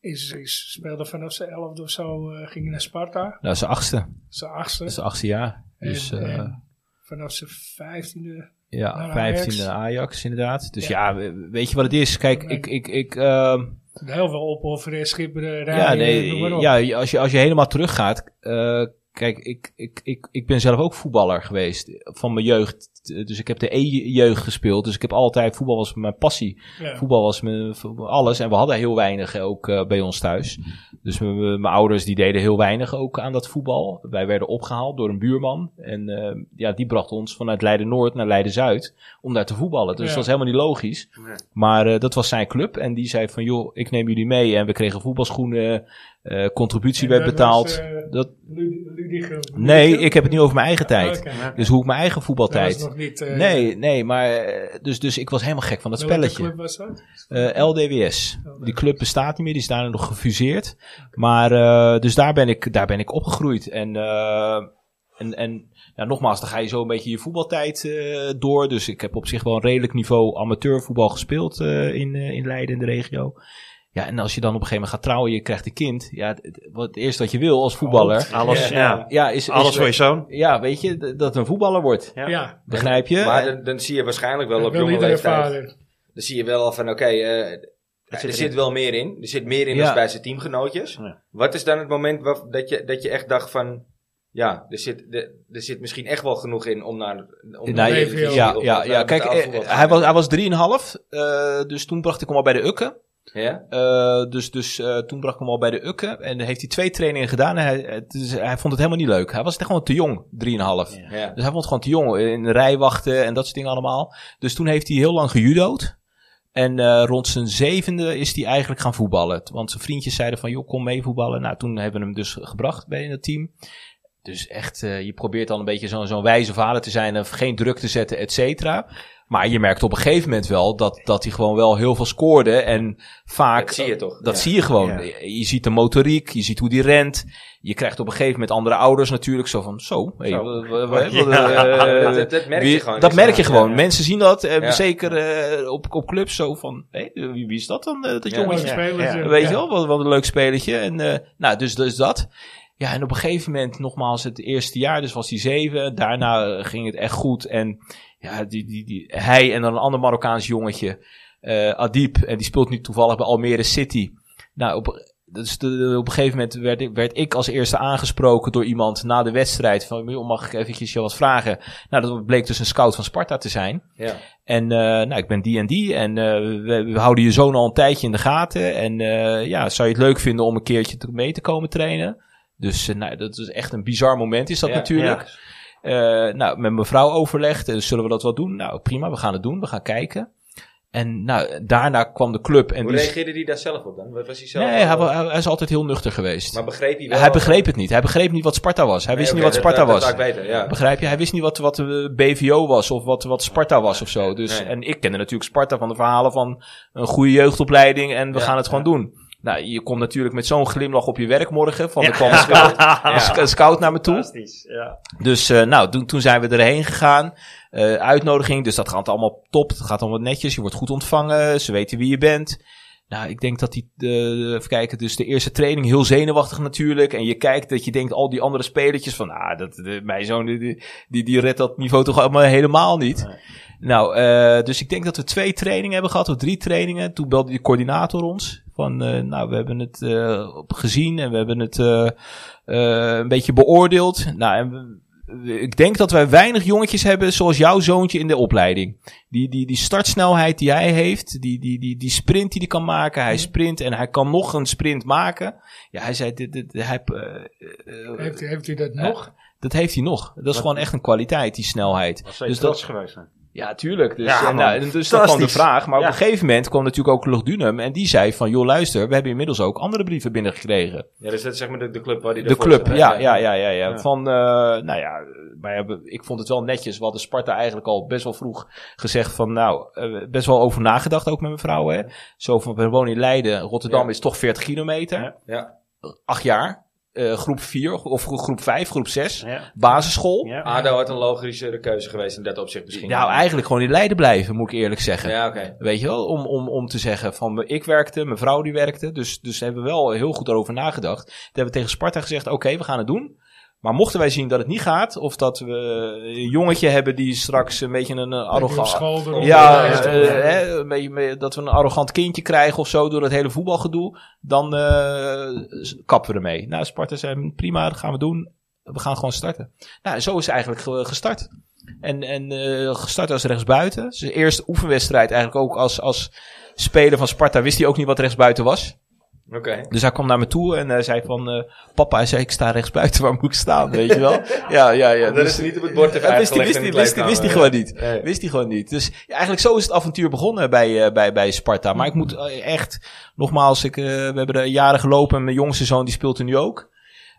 is, is, speelde vanaf zijn elfde of zo, eh, ging hij naar Sparta, Nou, zijn achtste. Dat zijn achtste. is zijn achtste jaar. Dus en, eh, en vanaf zijn vijftiende. ja, naar 15e Ajax inderdaad. Dus ja, we- weet je wat het is? Kijk, ik, ik, ik, ehm, Heel veel opofferen, schipperen, rijden, Ja, noem maar nee, op. ja je- als, je, als je helemaal teruggaat. eh kijk, ik, ik, ik, ik ben zelf ook voetballer geweest eh, van mijn jeugd. Eh, Dus ik heb de E-jeugd gespeeld. Dus ik heb altijd, voetbal was mijn passie. Ja. Voetbal was mijn, alles. En we hadden heel weinig ook eh, bij ons thuis. Dus m- m- mijn ouders die deden heel weinig ook aan dat voetbal. Wij werden opgehaald door een buurman. En eh, ja, die bracht ons vanuit Leiden-Noord naar Leiden-Zuid om daar te voetballen. Dus Ja. dat was helemaal niet logisch. Nee. Maar eh, dat was zijn club. En die zei van, joh, ik neem jullie mee. En we kregen voetbalschoenen, eh, contributie En werd dat betaald. was, eh, dat, Lud- Ludiger. nee, ik heb het nu over mijn eigen tijd. Ah, Oké. Dus hoe ik mijn eigen Dat was voetbaltijd... nog niet... eh, Nee, nee, maar eh, dus, dus ik was helemaal gek van dat welke spelletje. club was dat? Eh, LDWS. Die club bestaat niet meer, die is daarna nog gefuseerd. Maar, eh, dus daar ben ik, daar ben ik opgegroeid. En, eh, en, en ja, nogmaals, dan ga je zo een beetje je voetbaltijd eh, door. Dus ik heb op zich wel een redelijk niveau amateurvoetbal gespeeld eh, in, eh, in Leiden, in de regio. Ja, en als je dan op een gegeven moment gaat trouwen, je krijgt een kind. Ja, het- het, wat het eerste wat je wil als voetballer. alles, ja. Ja, is, is- Oh, alles voor je zoon. Ja, weet je, d- dat een voetballer wordt. Ja. Ja, Begrijp je? Eh, Maar dan, dan zie je waarschijnlijk wel op wil jonge iedere leeftijd. vader. Dan zie je wel al van, oké, eh, zit er erin. zit wel meer in. Er zit meer in Ja. dan bij zijn teamgenootjes. Ja. Wat is dan het moment waar, dat, je, dat je echt dacht van... Ja, er zit, er, er zit misschien echt wel genoeg in om naar... Om Nou, de je- BVO. of ja, naar ja, ja, betaald kijk, eh, voetbal te hij gaan. was, hij was 3,5. eh, dus toen bracht ik hem al bij de Ukke. Ja? Eh, dus dus eh, toen bracht ik hem al bij de Ukke. En heeft hij twee trainingen gedaan. En hij, het is- hij vond het helemaal niet leuk. Hij was echt gewoon te jong, 3,5. Ja. Ja. Dus hij vond het gewoon te jong. In de rij wachten en dat soort dingen allemaal. Dus toen heeft hij heel lang gejudood. En eh, rond zijn zevende is hij eigenlijk gaan voetballen. Want zijn vriendjes zeiden van, joh, kom mee voetballen. Nou, toen hebben we hem dus gebracht bij in het team. Dus echt, eh, je probeert dan een beetje zo'n zo'n wijze vader te zijn. En geen druk te zetten, et cetera. Maar je merkt op een gegeven moment wel dat, dat hij gewoon wel heel veel scoorde. En vaak... Dat zie je toch? Dat Ja. zie je gewoon. Ja. Je je ziet de motoriek, je ziet hoe die rent. Je krijgt op een gegeven moment andere ouders natuurlijk zo van, zo. hey, Zo. we- we- we- Ja. we- eh, dat, dat- dat merk wie- je gewoon. Dat merk je Ja, gewoon. ja. Mensen zien dat. eh, Ja. Zeker eh, op, op clubs zo van, hé, wie, wie is dat dan, eh, dat Ja. jongetje? Mooie spelers, Ja. eh, Weet ja. je wel, wat, wat een leuk spelletje. En, eh, nou, dus, dus dat. Ja, en op een gegeven moment, nogmaals, het eerste jaar, dus was hij zeven. Daarna eh, ging het echt goed. En ja, die, die, die, hij en dan een ander Marokkaans jongetje, eh Adib, en die speelt nu toevallig bij Almere City. Nou, op, dus de- de- op een gegeven moment werd ik, werd ik als eerste aangesproken door iemand na de wedstrijd. Van, "Joh, mag ik eventjes je wat vragen? Nou, dat bleek dus een scout van Sparta te zijn. Ja. En eh, nou, ik ben die en die. En eh, we, we houden je zoon al een tijdje in de gaten. En eh, ja, zou je het leuk vinden om een keertje te- mee te komen trainen? Dus eh, nou, dat is echt een bizar moment, is dat Ja, natuurlijk. Eh, nou, met mijn vrouw overlegd. eh, zullen we dat wel doen? Nou, prima, we gaan het doen. We gaan kijken. En nou, daarna kwam de club. En Hoe die is- reageerde hij daar zelf op dan? Wat was hij zelf? nee, hij, wa- hij- hij is altijd heel nuchter geweest. maar begreep hij wel? hij begreep het niet. Hij begreep niet wat Sparta was. Hij Nee, wist oké, niet wat dat- Sparta dat- was. Dat, laat ik weten, ja. Begrijp je? Hij wist niet wat, wat eh, BVO was of wat, wat Sparta was of zo. Dus, Nee. En ik kende natuurlijk Sparta van de verhalen van een goede jeugdopleiding en we Ja, gaan het gewoon doen. Nou, je komt natuurlijk met zo'n glimlach op je werk morgen van de kwam een scout, Ja. een sc- een scout naar me toe. Fantastisch, ja. Dus eh, nou, toen, toen zijn we erheen gegaan. Eh, uitnodiging, dus dat gaat allemaal top. Het gaat allemaal netjes. Je wordt goed ontvangen. Ze weten wie je bent. Nou, ik denk dat die, eh, even kijken, dus de eerste training heel zenuwachtig natuurlijk. En je kijkt dat je denkt, al die andere spelertjes van, ah, dat, de- mijn zoon, die- die, die, die redt dat niveau toch allemaal helemaal niet. Nou, eh, dus ik denk dat we twee trainingen hebben gehad, of drie trainingen. Toen belde die coördinator ons. Van, eh, nou, we hebben het eh, op gezien en we hebben het eh, eh, een beetje beoordeeld. Nou, en we- we- ik denk dat wij weinig jongetjes hebben zoals jouw zoontje in de opleiding. Die, die, die startsnelheid die hij heeft, die, die, die, die sprint die hij kan maken. Hij sprint en hij kan nog een sprint maken. Ja, hij zei, dit, dit, hij, eh, eh, Heeft, heeft hij dat nog? dat heeft hij nog. Dat is gewoon echt een kwaliteit, die snelheid. Was Dus dus dat- trots geweest zijn. Ja, tuurlijk. Dus, Ja, eh, man. nou, en dus dat kwam de Fantastisch. vraag. Maar op Ja. een gegeven moment kwam natuurlijk ook Lugdunum. En die zei van, joh luister, we hebben inmiddels ook andere brieven binnengekregen. Ja, dus dat is zeg maar de, de club waar die De daarvoor club, zat. ja, ja, ja, ja, ja. Ja. Van, eh, nou ja, maar ja, we- ik vond het wel netjes. We hadden Sparta eigenlijk al best wel vroeg gezegd van, nou, eh, best wel over nagedacht ook met mijn vrouw. Hè? Zo van, we wonen in Leiden, Rotterdam Ja. is toch 40 kilometer. Ja. Ja. Acht jaar, Eh, groep 4 of gro- groep 5, groep 6, Ja. basisschool. Ja. ADO had een logischere keuze geweest in dat opzicht misschien. Nou, eigenlijk gewoon in Leiden blijven, moet ik eerlijk zeggen. Ja, oké. Weet je wel, om, om, om te zeggen van ik werkte, mijn vrouw die werkte. Dus, dus hebben we wel heel goed over nagedacht. Toen hebben we tegen Sparta gezegd, oké, we gaan het doen. Maar mochten wij zien dat het niet gaat, of dat we een jongetje hebben die straks een beetje een eh, op arrogant... school erop. Ja, Ja, eh, hè, een beetje meer dat we een arrogant kindje krijgen of zo door het hele voetbalgedoe, dan eh, s- kappen we ermee. Nou, Sparta zei prima, dat gaan we doen. We gaan gewoon starten. Nou, en zo is het eigenlijk ge- gestart. En, en eh, gestart als rechtsbuiten. Zijn eerste oefenwedstrijd eigenlijk ook als, als speler van Sparta wist hij ook niet wat rechtsbuiten was. Oké. Dus hij kwam naar me toe en eh, zei van... eh, papa, hij zei, ik sta rechtsbuiten, waar moet ik staan? Weet je wel? Ja, ja, ja. Dus Dat is niet op het bord even Dat wist hij- uitgelegd wist in hij- de wist hij- wist hij kleedkamer. gewoon niet. Nee. Wist hij gewoon niet. Dus ja, eigenlijk zo is het avontuur begonnen bij, eh, bij, bij Sparta. Maar ik Mhm. moet eh, echt, nogmaals, ik, eh, we hebben er jaren gelopen en mijn jongste zoon die speelt er nu ook.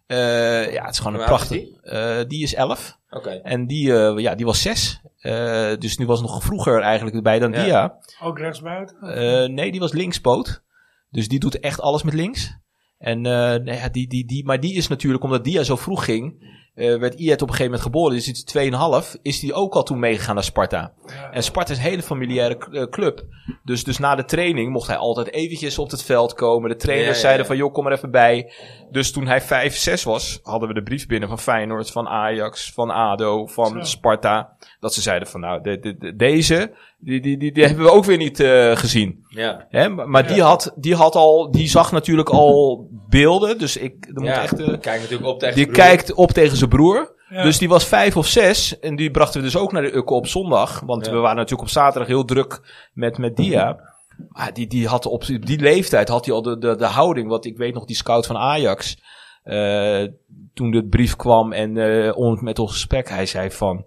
Eh, ja, het is gewoon een Hoe oud is prachtig. Eh, die is 11 Oké. en die, eh, ja, die was 6. Eh, dus nu was nog vroeger eigenlijk erbij dan Ja. Dia. Ook rechtsbuiten. Eh, nee, die was linkspoot. Dus die doet echt alles met links. En, eh, nee, ja, die, die, die, maar die is natuurlijk, omdat Dia zo vroeg ging, eh, werd Iet op een gegeven moment geboren. Dus die is 2,5, is die ook al toen meegegaan naar Sparta. Ja. En Sparta is een hele familiaire k- eh, club. Dus, dus na de training mocht hij altijd eventjes op het veld komen. De trainers Ja, ja, ja. zeiden van, joh, kom er even bij. Dus toen hij 5, 6 was, hadden we de brief binnen van Feyenoord, van Ajax, van ADO, van Zo. Sparta. Dat ze zeiden van, nou, de, de- de- deze, die, die, die, die hebben we ook weer niet eh, gezien. Ja. Hè, maar maar die, Ja. had, die had al, die zag natuurlijk al beelden. Dus ik, er moet ja. echt, eh, kijkt natuurlijk op tegen die broer. kijkt op tegen zijn broer. Ja. Dus die was vijf of zes. En die brachten we dus ook naar de Ukke op zondag. Want Ja. we waren natuurlijk op zaterdag heel druk met, met Dia. Maar die, die had op die leeftijd had hij al de, de, de houding. Want ik weet nog, die scout van Ajax. eh, toen de brief kwam en eh ons, met ons gesprek. Hij zei van...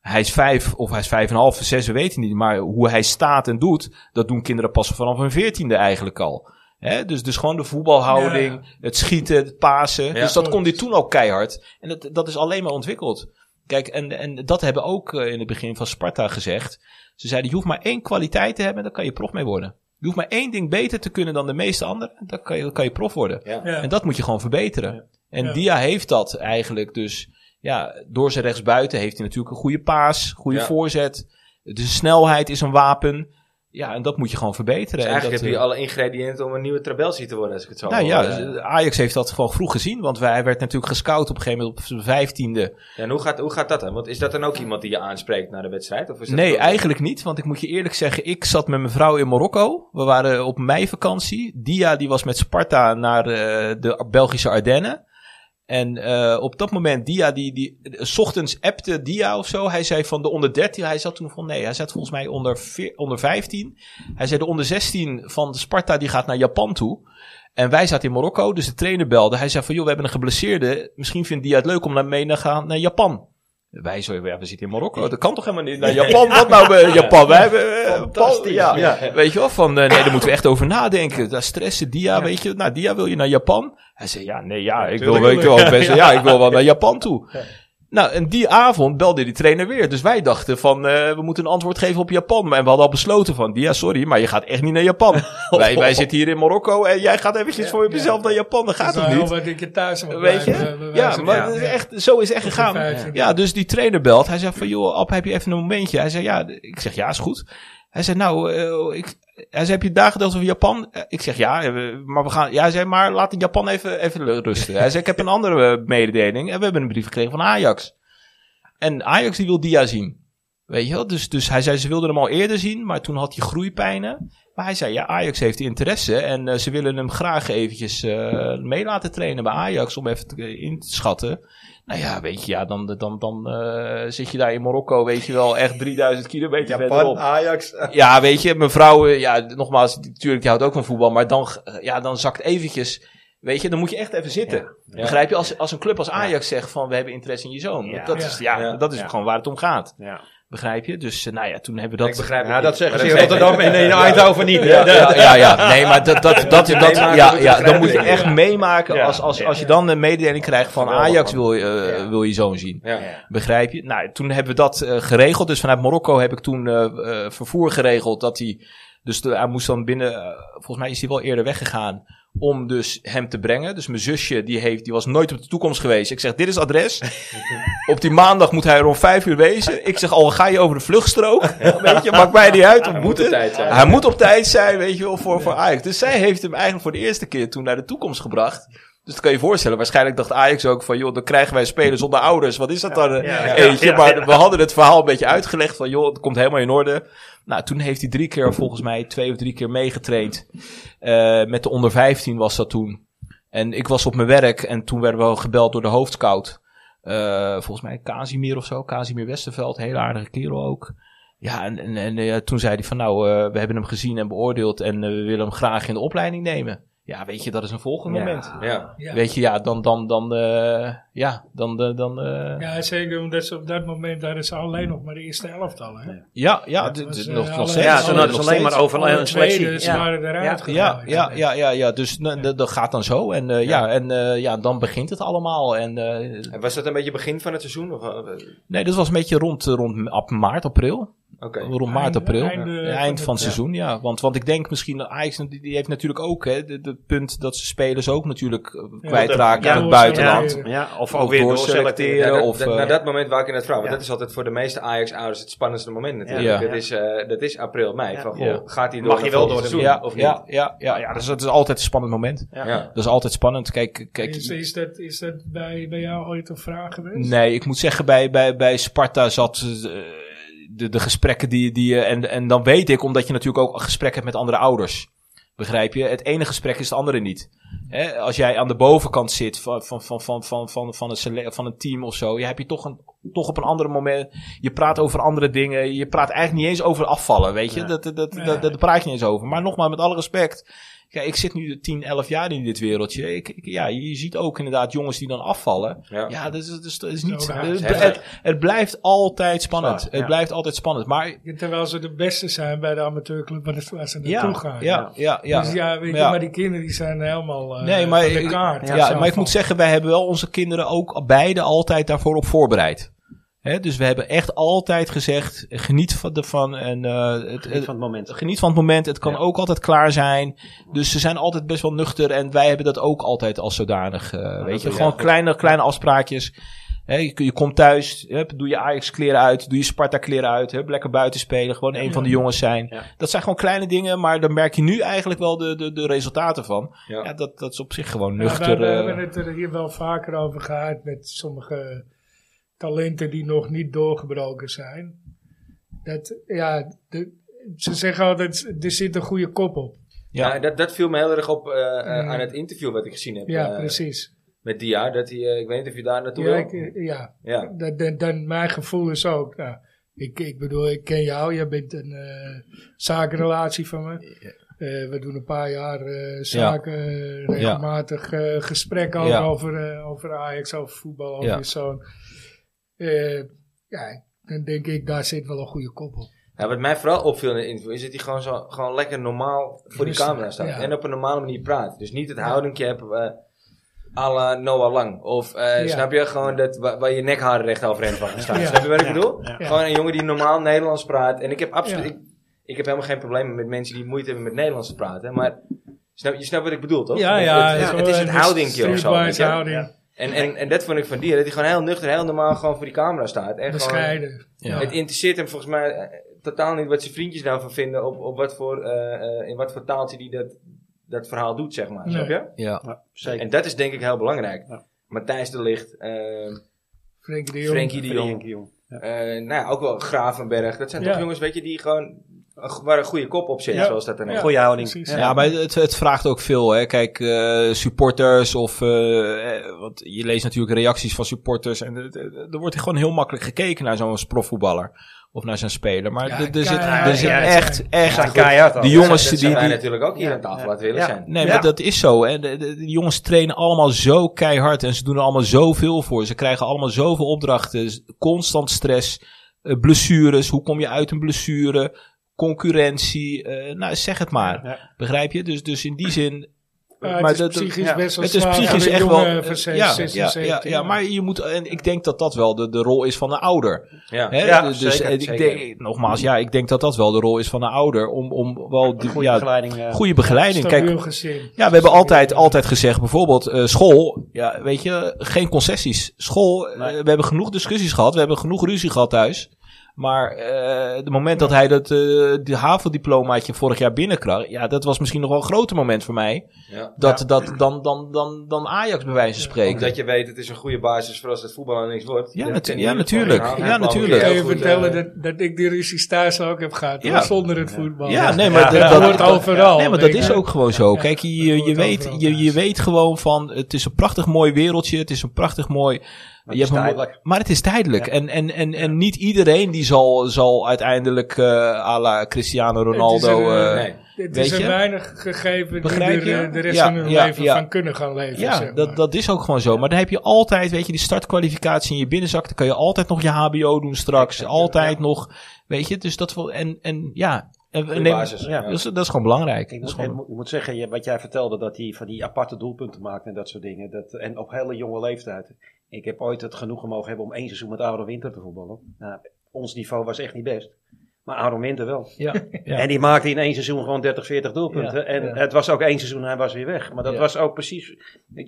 Hij is vijf of hij is vijf en een half, zes, we weten niet. Maar hoe hij staat en doet, dat doen kinderen pas vanaf hun veertiende eigenlijk al. Hè? Dus, dus gewoon de voetbalhouding, het schieten, het pasen. Dus dat kon hij toen al keihard. En dat, dat is alleen maar ontwikkeld. Kijk, en, en dat hebben ook eh, in het begin van Sparta gezegd. Ze zeiden, je hoeft maar één kwaliteit te hebben en daar kan je prof mee worden. Je hoeft maar één ding beter te kunnen dan de meeste anderen. en Dan kan je, dan kan je prof worden. Ja. Dus Ja. En dat moet je gewoon verbeteren. En Ja. Dia heeft dat eigenlijk. Dus ja, door zijn rechtsbuiten heeft hij natuurlijk een goede paas, goede Ja. voorzet. De snelheid is een wapen. Ja, en dat moet je gewoon verbeteren. Dus En eigenlijk dat, heb je eh, alle ingrediënten om een nieuwe Trabelsi te worden, als ik het zo nou hoor. ja, Eh, Ajax heeft dat gewoon vroeg gezien. Want hij werd natuurlijk gescout op een gegeven moment op zijn vijftiende. ja, en hoe gaat, hoe gaat dat dan? Want is dat dan ook iemand die je aanspreekt naar de wedstrijd? Of is dat Nee, ook- eigenlijk niet. Want ik moet je eerlijk zeggen, ik zat met mijn vrouw in Marokko. We waren op meivakantie. Dia die was met Sparta naar eh, de Belgische Ardennen. En eh, op dat moment, Dia, die, die, eh, s ochtends appte Dia of zo. Hij zei van de onder 13, hij zat toen van nee, hij zat volgens mij onder, veer- onder 15. Hij zei de onder 16 van de Sparta, die gaat naar Japan toe. En wij zaten in Marokko, dus de trainer belde. Hij zei van joh, we hebben een geblesseerde. Misschien vindt Dia het leuk om naar mee te gaan naar Japan. Wij zo, ja, we zitten in Marokko. Dat kan toch helemaal niet naar Japan? Wat nou bij Japan? Wij hebben... eh, Fantastisch. ja. Ja. Weet je wel, van eh, nee, daar moeten we echt over nadenken. Daar stressen, Dia, weet je. Nou, Dia, wil je naar Japan? Hij zei, ja, nee, ja, ik wil, tuurlijk. ik wil wel best, ja, ik wil wel naar Japan toe. Nou, en die avond belde die trainer weer. Dus wij dachten van, eh, we moeten een antwoord geven op Japan. En we hadden al besloten van, ja, sorry, maar je gaat echt niet naar Japan. wij, wij zitten hier in Marokko en jij gaat eventjes voor jezelf naar Japan. Dat gaat Het is toch wel niet? wat ik je thuis moet Weet je? blijven, bij wijze Ja, van- maar het is echt, zo is het echt gegaan. Ja, dus die trainer belt. Hij zegt van, joh, Ab, heb je even een momentje? Hij zei, ja, ik zeg, ja, is goed. Hij zei, nou, eh, ik, hij zei, heb je nagedacht over Japan? Eh, Ik zeg, ja, eh, we- maar we gaan, ja, hij zei, maar laat in Japan even, even rusten. Hij zei, ik heb een andere eh, mededeling. En we hebben een brief gekregen van Ajax. En Ajax die wil Dia zien. Weet je wel? Dus, dus hij zei, ze wilden hem al eerder zien, maar toen had hij groeipijnen. Maar hij zei, ja, Ajax heeft interesse en eh, ze willen hem graag eventjes eh, mee laten trainen bij Ajax om even te, eh, in te schatten. Nou ja, weet je, ja, dan, dan, dan eh, zit je daar in Marokko, weet je wel, echt 3000 kilometer verderop. Ajax. Ja, weet je, mijn vrouw, eh, ja, nogmaals, die- natuurlijk, die houdt ook van voetbal, maar dan, eh, ja, dan zakt eventjes, weet je, dan moet je echt even zitten. Begrijp je, als, als een club als Ajax zegt van, we hebben interesse in je zoon, Ja. dat, is, ja, Ja. dat is Ja. gewoon waar het om gaat. Ja. Begrijp je? Dus eh, nou ja, toen hebben we dat... nou, ik begrijp het Ja, dat niet, zeggen ze maar in dat Rotterdam en in Eindhoven niet. hè. ja, ja, ja, nee, maar dat, dat, dat, dat, meemaken, ja, moet je ja, dat begrijpen, moet je denk ik. echt meemaken Ja. als, als, als je dan een mededeling krijgt van Geweldig, Ajax man. wil je, eh, Ja. wil je zoon zien. Ja. Begrijp je? Nou, toen hebben we dat eh, geregeld. Dus vanuit Marokko heb ik toen eh, eh, vervoer geregeld dat hij. Dus de, hij moest dan binnen. eh, volgens mij is hij wel eerder weggegaan. Om dus hem te brengen. Dus mijn zusje, die, heeft, die was nooit op de toekomst geweest. Ik zeg: Dit is het adres. op die maandag moet hij er om vijf uur wezen. Ik zeg: Al ga je over de vluchtstrook. Weet je, maakt mij niet uit. Op moet op boete. tijd zijn. Hij moet op tijd zijn, weet je wel, voor, voor Ajax. Dus zij heeft hem eigenlijk voor de eerste keer toen naar de toekomst gebracht. Dus dat kan je voorstellen. Waarschijnlijk dacht Ajax ook van, joh, dan krijgen wij spelers zonder ouders. Wat is dat dan? eh, ja, ja, eentje? ja, maar we hadden het verhaal een beetje uitgelegd van, joh, het komt helemaal in orde. Nou, toen heeft hij drie keer, volgens mij, twee of drie keer meegetraind. Eh, met de onder 15 was dat toen. En ik was op mijn werk en toen werden we gebeld door de hoofdscout. Eh, volgens mij Casimir of zo, Casimir Westerveld, heel aardige kerel ook. Ja, en, en, en eh, toen zei hij van nou, eh, we hebben hem gezien en beoordeeld en eh, we willen hem graag in de opleiding nemen. Ja, weet je, dat is een volgend Ja. moment. Ja. Ja. Weet je, ja, dan, dan, dan, eh, ja, dan, dan, dan eh, ja, Ja, zeker, omdat ze op dat moment, daar is alleen nog maar de eerste elftal. Hè? ja, dit- was, dit- eh, nog, nog alle- steeds. Ja, toen toen nog hadden ze alleen steeds. maar overal Alle een selectie. tweede, ze Ja. waren eruit Ja, gegooid. ja, ja, ja, ja, dus nou, dat- dat gaat dan zo. En, eh, ja. en eh, ja, dan begint het allemaal. En, eh, En was dat een beetje begin van het seizoen? Of, eh, Oké. nee, dat was een beetje rond, eh, rond ap- maart, april. Rond maart, Einde- april. einde Ja, van eind het- van het seizoen, ja. Want, want ik denk misschien, Ajax die, die heeft natuurlijk ook hè, de, de punt dat ze spelers ook natuurlijk eh, kwijtraken Ja, aan het door- buitenland. ja. Ja, of Of ook weer doorselecteren. doorselecteren. Ja, dat- of, dat- eh, naar dat moment waar ik in het vrouw. Want ja. dat is altijd voor de meeste Ajax-ouders het spannendste moment natuurlijk. Ja. Dat, is, eh, dat is april, mei. Ja. Van, goh, Ja. gaat hij door? Mag naar je wel volgend door de- seizoen, ja, of niet? ja, ja, ja, ja. Dus dat is altijd een spannend moment. Ja. Dat is altijd spannend. Kijk, Is, kijk is, dat, is dat bij, bij jou ooit een vraag geweest? nee, ik moet zeggen, bij, bij, bij Sparta zat eh, de, de gesprekken die, die je- en, en dan weet ik, omdat je natuurlijk ook gesprekken hebt met andere ouders. Begrijp je? Het ene gesprek is het andere niet. Hè, als jij aan de bovenkant zit van, van, van, van, van, van, van, een, sele- van een team of zo, je heb je toch, een, toch op een ander moment. Je praat over andere dingen. Je praat eigenlijk niet eens over afvallen, weet je? Nee. Dat, dat, dat, Nee. dat, dat praat je niet eens over. Maar nogmaals, met alle respect. Kijk, ik zit nu 10, 11 jaar in dit wereldje. Ik, ik- ja, je ziet ook inderdaad jongens die dan afvallen. Ja. Ja, dat is, dat is, dat is niet. Zo raar. Het, Dat is het, het blijft altijd spannend. Zwaar, Het ja. blijft altijd spannend. Maar Ja, Terwijl ze de beste zijn bij de amateurclub waar ze- waar ze ja, naartoe gaan. ja, ja, ja. Dus ja, weet je, Ja. maar die kinderen die zijn helemaal eh Nee, maar, van de ik- kaart. ja, Zo maar ik van- moet zeggen, wij hebben wel onze kinderen ook beide altijd daarvoor op voorbereid. Hè, dus we hebben echt altijd gezegd, geniet van ervan en eh, het, Geniet het, van het moment. geniet van het moment. Het kan Ja. ook altijd klaar zijn. Dus ze zijn altijd best wel nuchter. En wij hebben dat ook altijd als zodanig. eh, weet je, doe je gewoon goed. kleine, kleine afspraakjes. Hè, je, je komt thuis, hup, doe je Ajax kleren uit, doe je Sparta kleren uit, hup, lekker buiten spelen, gewoon een van de jongens zijn. Ja. Dat zijn gewoon kleine dingen, maar daar merk je nu eigenlijk wel de, de, de resultaten van. Ja. Ja. dat, dat is op zich gewoon Ja, we- nuchter. we, eh, hebben het er hier wel vaker over gehad met sommige talenten die nog niet doorgebroken zijn. Dat, ja, de- ze zeggen altijd, er zit een goede kop op. Ja. ja. Nou, dat, dat viel me heel erg op eh, eh, Mm. aan het interview wat ik gezien heb Ja, eh, precies. met Dia. Dat hij, eh, ik weet niet of je daar naartoe Ja, wil. ik, eh, ja. ja. Dat, dat- dat- mijn gevoel is ook, nou, ik, ik bedoel, ik ken jou, jij bent een eh, zakenrelatie van me. Eh, we doen een paar jaar eh, zaken, eh, regelmatig eh, gesprekken ook Ja. over, eh, over Ajax, over voetbal, over Ja. je zoon. Eh, ja, dan denk ik, daar zit wel een goede kop op. Ja, wat mij vooral opviel in het interview is dat hij gewoon, zo, gewoon lekker normaal voor die Rustig, camera staat. ja. En op een normale manier praat. Dus niet het houdingje hebben eh à la Noah Lang. Of eh, Ja. snap je gewoon dat, wa- waar, je nekharen recht overheen van gaan staan. Ja. Snap je wat ik bedoel? Ja. Gewoon een jongen die normaal Nederlands praat. En ik heb absoluut. Ja. Ik, ik heb helemaal geen problemen met mensen die moeite hebben met Nederlands te praten. Maar snap, je snapt wat ik bedoel, toch? Het- het, het, is het houdingje of zo. weet Streetwise je? houding, Ja. En, en, en dat vond ik van die. Dat hij gewoon heel nuchter, heel normaal gewoon voor die camera staat. En gewoon, bescheiden. Ja. het interesseert hem volgens mij eh, totaal niet wat zijn vriendjes daarvan vinden. Op, op wat voor, eh, eh, in wat voor taaltje die dat, dat verhaal doet, zeg maar. Nee. Snap je? ja. Ja, zeker. En dat is denk ik heel belangrijk. Ja. Matthijs de Ligt, eh Frenkie de Jong. Frenkie de Jong. Frenkie de Jong. Ja. eh, nou ja, ook wel Gravenberg. Dat zijn toch Ja. jongens, weet je, die gewoon een go- waar een goede kop op zit, Ja. zoals dat dan heet. Goeie houding. precies. Ja, maar het, het vraagt ook veel. Hè. Kijk, eh, supporters of... eh, eh, want je leest natuurlijk reacties van supporters. En het- het- er wordt gewoon heel makkelijk gekeken naar zo'n profvoetballer. Of naar zijn speler. Maar Ja, er- er zit, keihard. er zit Ja, echt, Ze zijn echt... keihard al. Die Dat jongens zou- dat die... zou wij die natuurlijk ook hier aan tafel Ja. laten willen Ja. zijn. Nee, Ja. maar dat is zo. Hè. De, de- die jongens trainen allemaal zo keihard en ze doen er allemaal zoveel voor. Ze krijgen allemaal zoveel opdrachten, constant stress, eh, blessures, hoe kom je uit een blessure, concurrentie, eh, nou zeg het maar. Ja. Begrijp je? Dus, dus in die zin. Ja, maar het is dat- psychisch ja. best wel het is zwaar psychisch voor een echt wel. jongen eh, van zes, ja, zes, ja, ja, 17 ja, jaar. maar je moet. En ik denk dat dat wel de, de rol is van de ouder. Ja. Hè? Ja, dus dus zeker, ik zeker. Denk, nogmaals, ja, ik denk dat dat wel de rol is van de ouder. Om, om wel die- Goede ja, begeleiding. eh. goede begeleiding. Kijk, Stabiel gezin. ja, we hebben altijd, altijd gezegd, bijvoorbeeld eh, school, ja, weet je, geen concessies. School, eh, Nee. we hebben genoeg discussies gehad, we hebben genoeg ruzie gehad thuis. Maar eh het moment dat hij dat eh die HAVO-diplomaatje vorig jaar binnenkrak, ja, dat was misschien nog wel een groter moment voor mij. Ja. Dat, dat, dan, dan, dan, dan Ajax bij wijze van spreken. Omdat je weet, het is een goede basis voor als het voetbal aan niks wordt. Ja, Dat natu- ken ja, je natuurlijk. gewoon. Ja, Haarlem natuurlijk. Ik kwam een kan je keer heel goed, vertellen eh, dat, dat ik die ruzie thuis ook heb gehad. hoor, Ja. Zonder het voetbal. Ja, nee, maar Ja, dat, ja. dat- dat hoort dat- overal. Nee, maar dat weet is je. ook gewoon zo. Kijk, je, dat je, hoort weet, overal je, je thuis. weet gewoon van, het is een prachtig mooi wereldje, het is een prachtig mooi... Maar je het is hebt een- tijdelijk. maar het is tijdelijk. Ja. En, en, en, en niet iedereen die zal, zal uiteindelijk eh à la Cristiano Ronaldo... Het is een, eh, Nee. Het Weet is er je? weinig gegeven die Begrijp er je? eh, de rest Ja, van hun ja, leven ja. van kunnen gaan leven. ja, zeg maar. dat, dat is ook gewoon zo. Maar dan heb je altijd, weet je, die startkwalificatie in je binnenzak. Dan kan je altijd nog je HBO doen straks. Altijd nog, weet je. Dus dat wel... En, en ja... En, Goede neem- basis. ja, dat, is, dat is gewoon belangrijk. Ik Dat moet, is gewoon- ik moet- ik moet zeggen, je- wat jij vertelde, dat hij van die aparte doelpunten maakt en dat soort dingen. Dat, en op hele jonge leeftijd. Ik heb ooit het genoegen mogen hebben om één seizoen met Aaron Winter te voetballen. Nou, ons niveau was echt niet best. Maar Aaron Winter wel. ja, ja. En die maakte in één seizoen gewoon 30, 40 doelpunten. Ja, en ja. het was ook één seizoen, hij was weer weg. Maar dat Ja. was ook precies.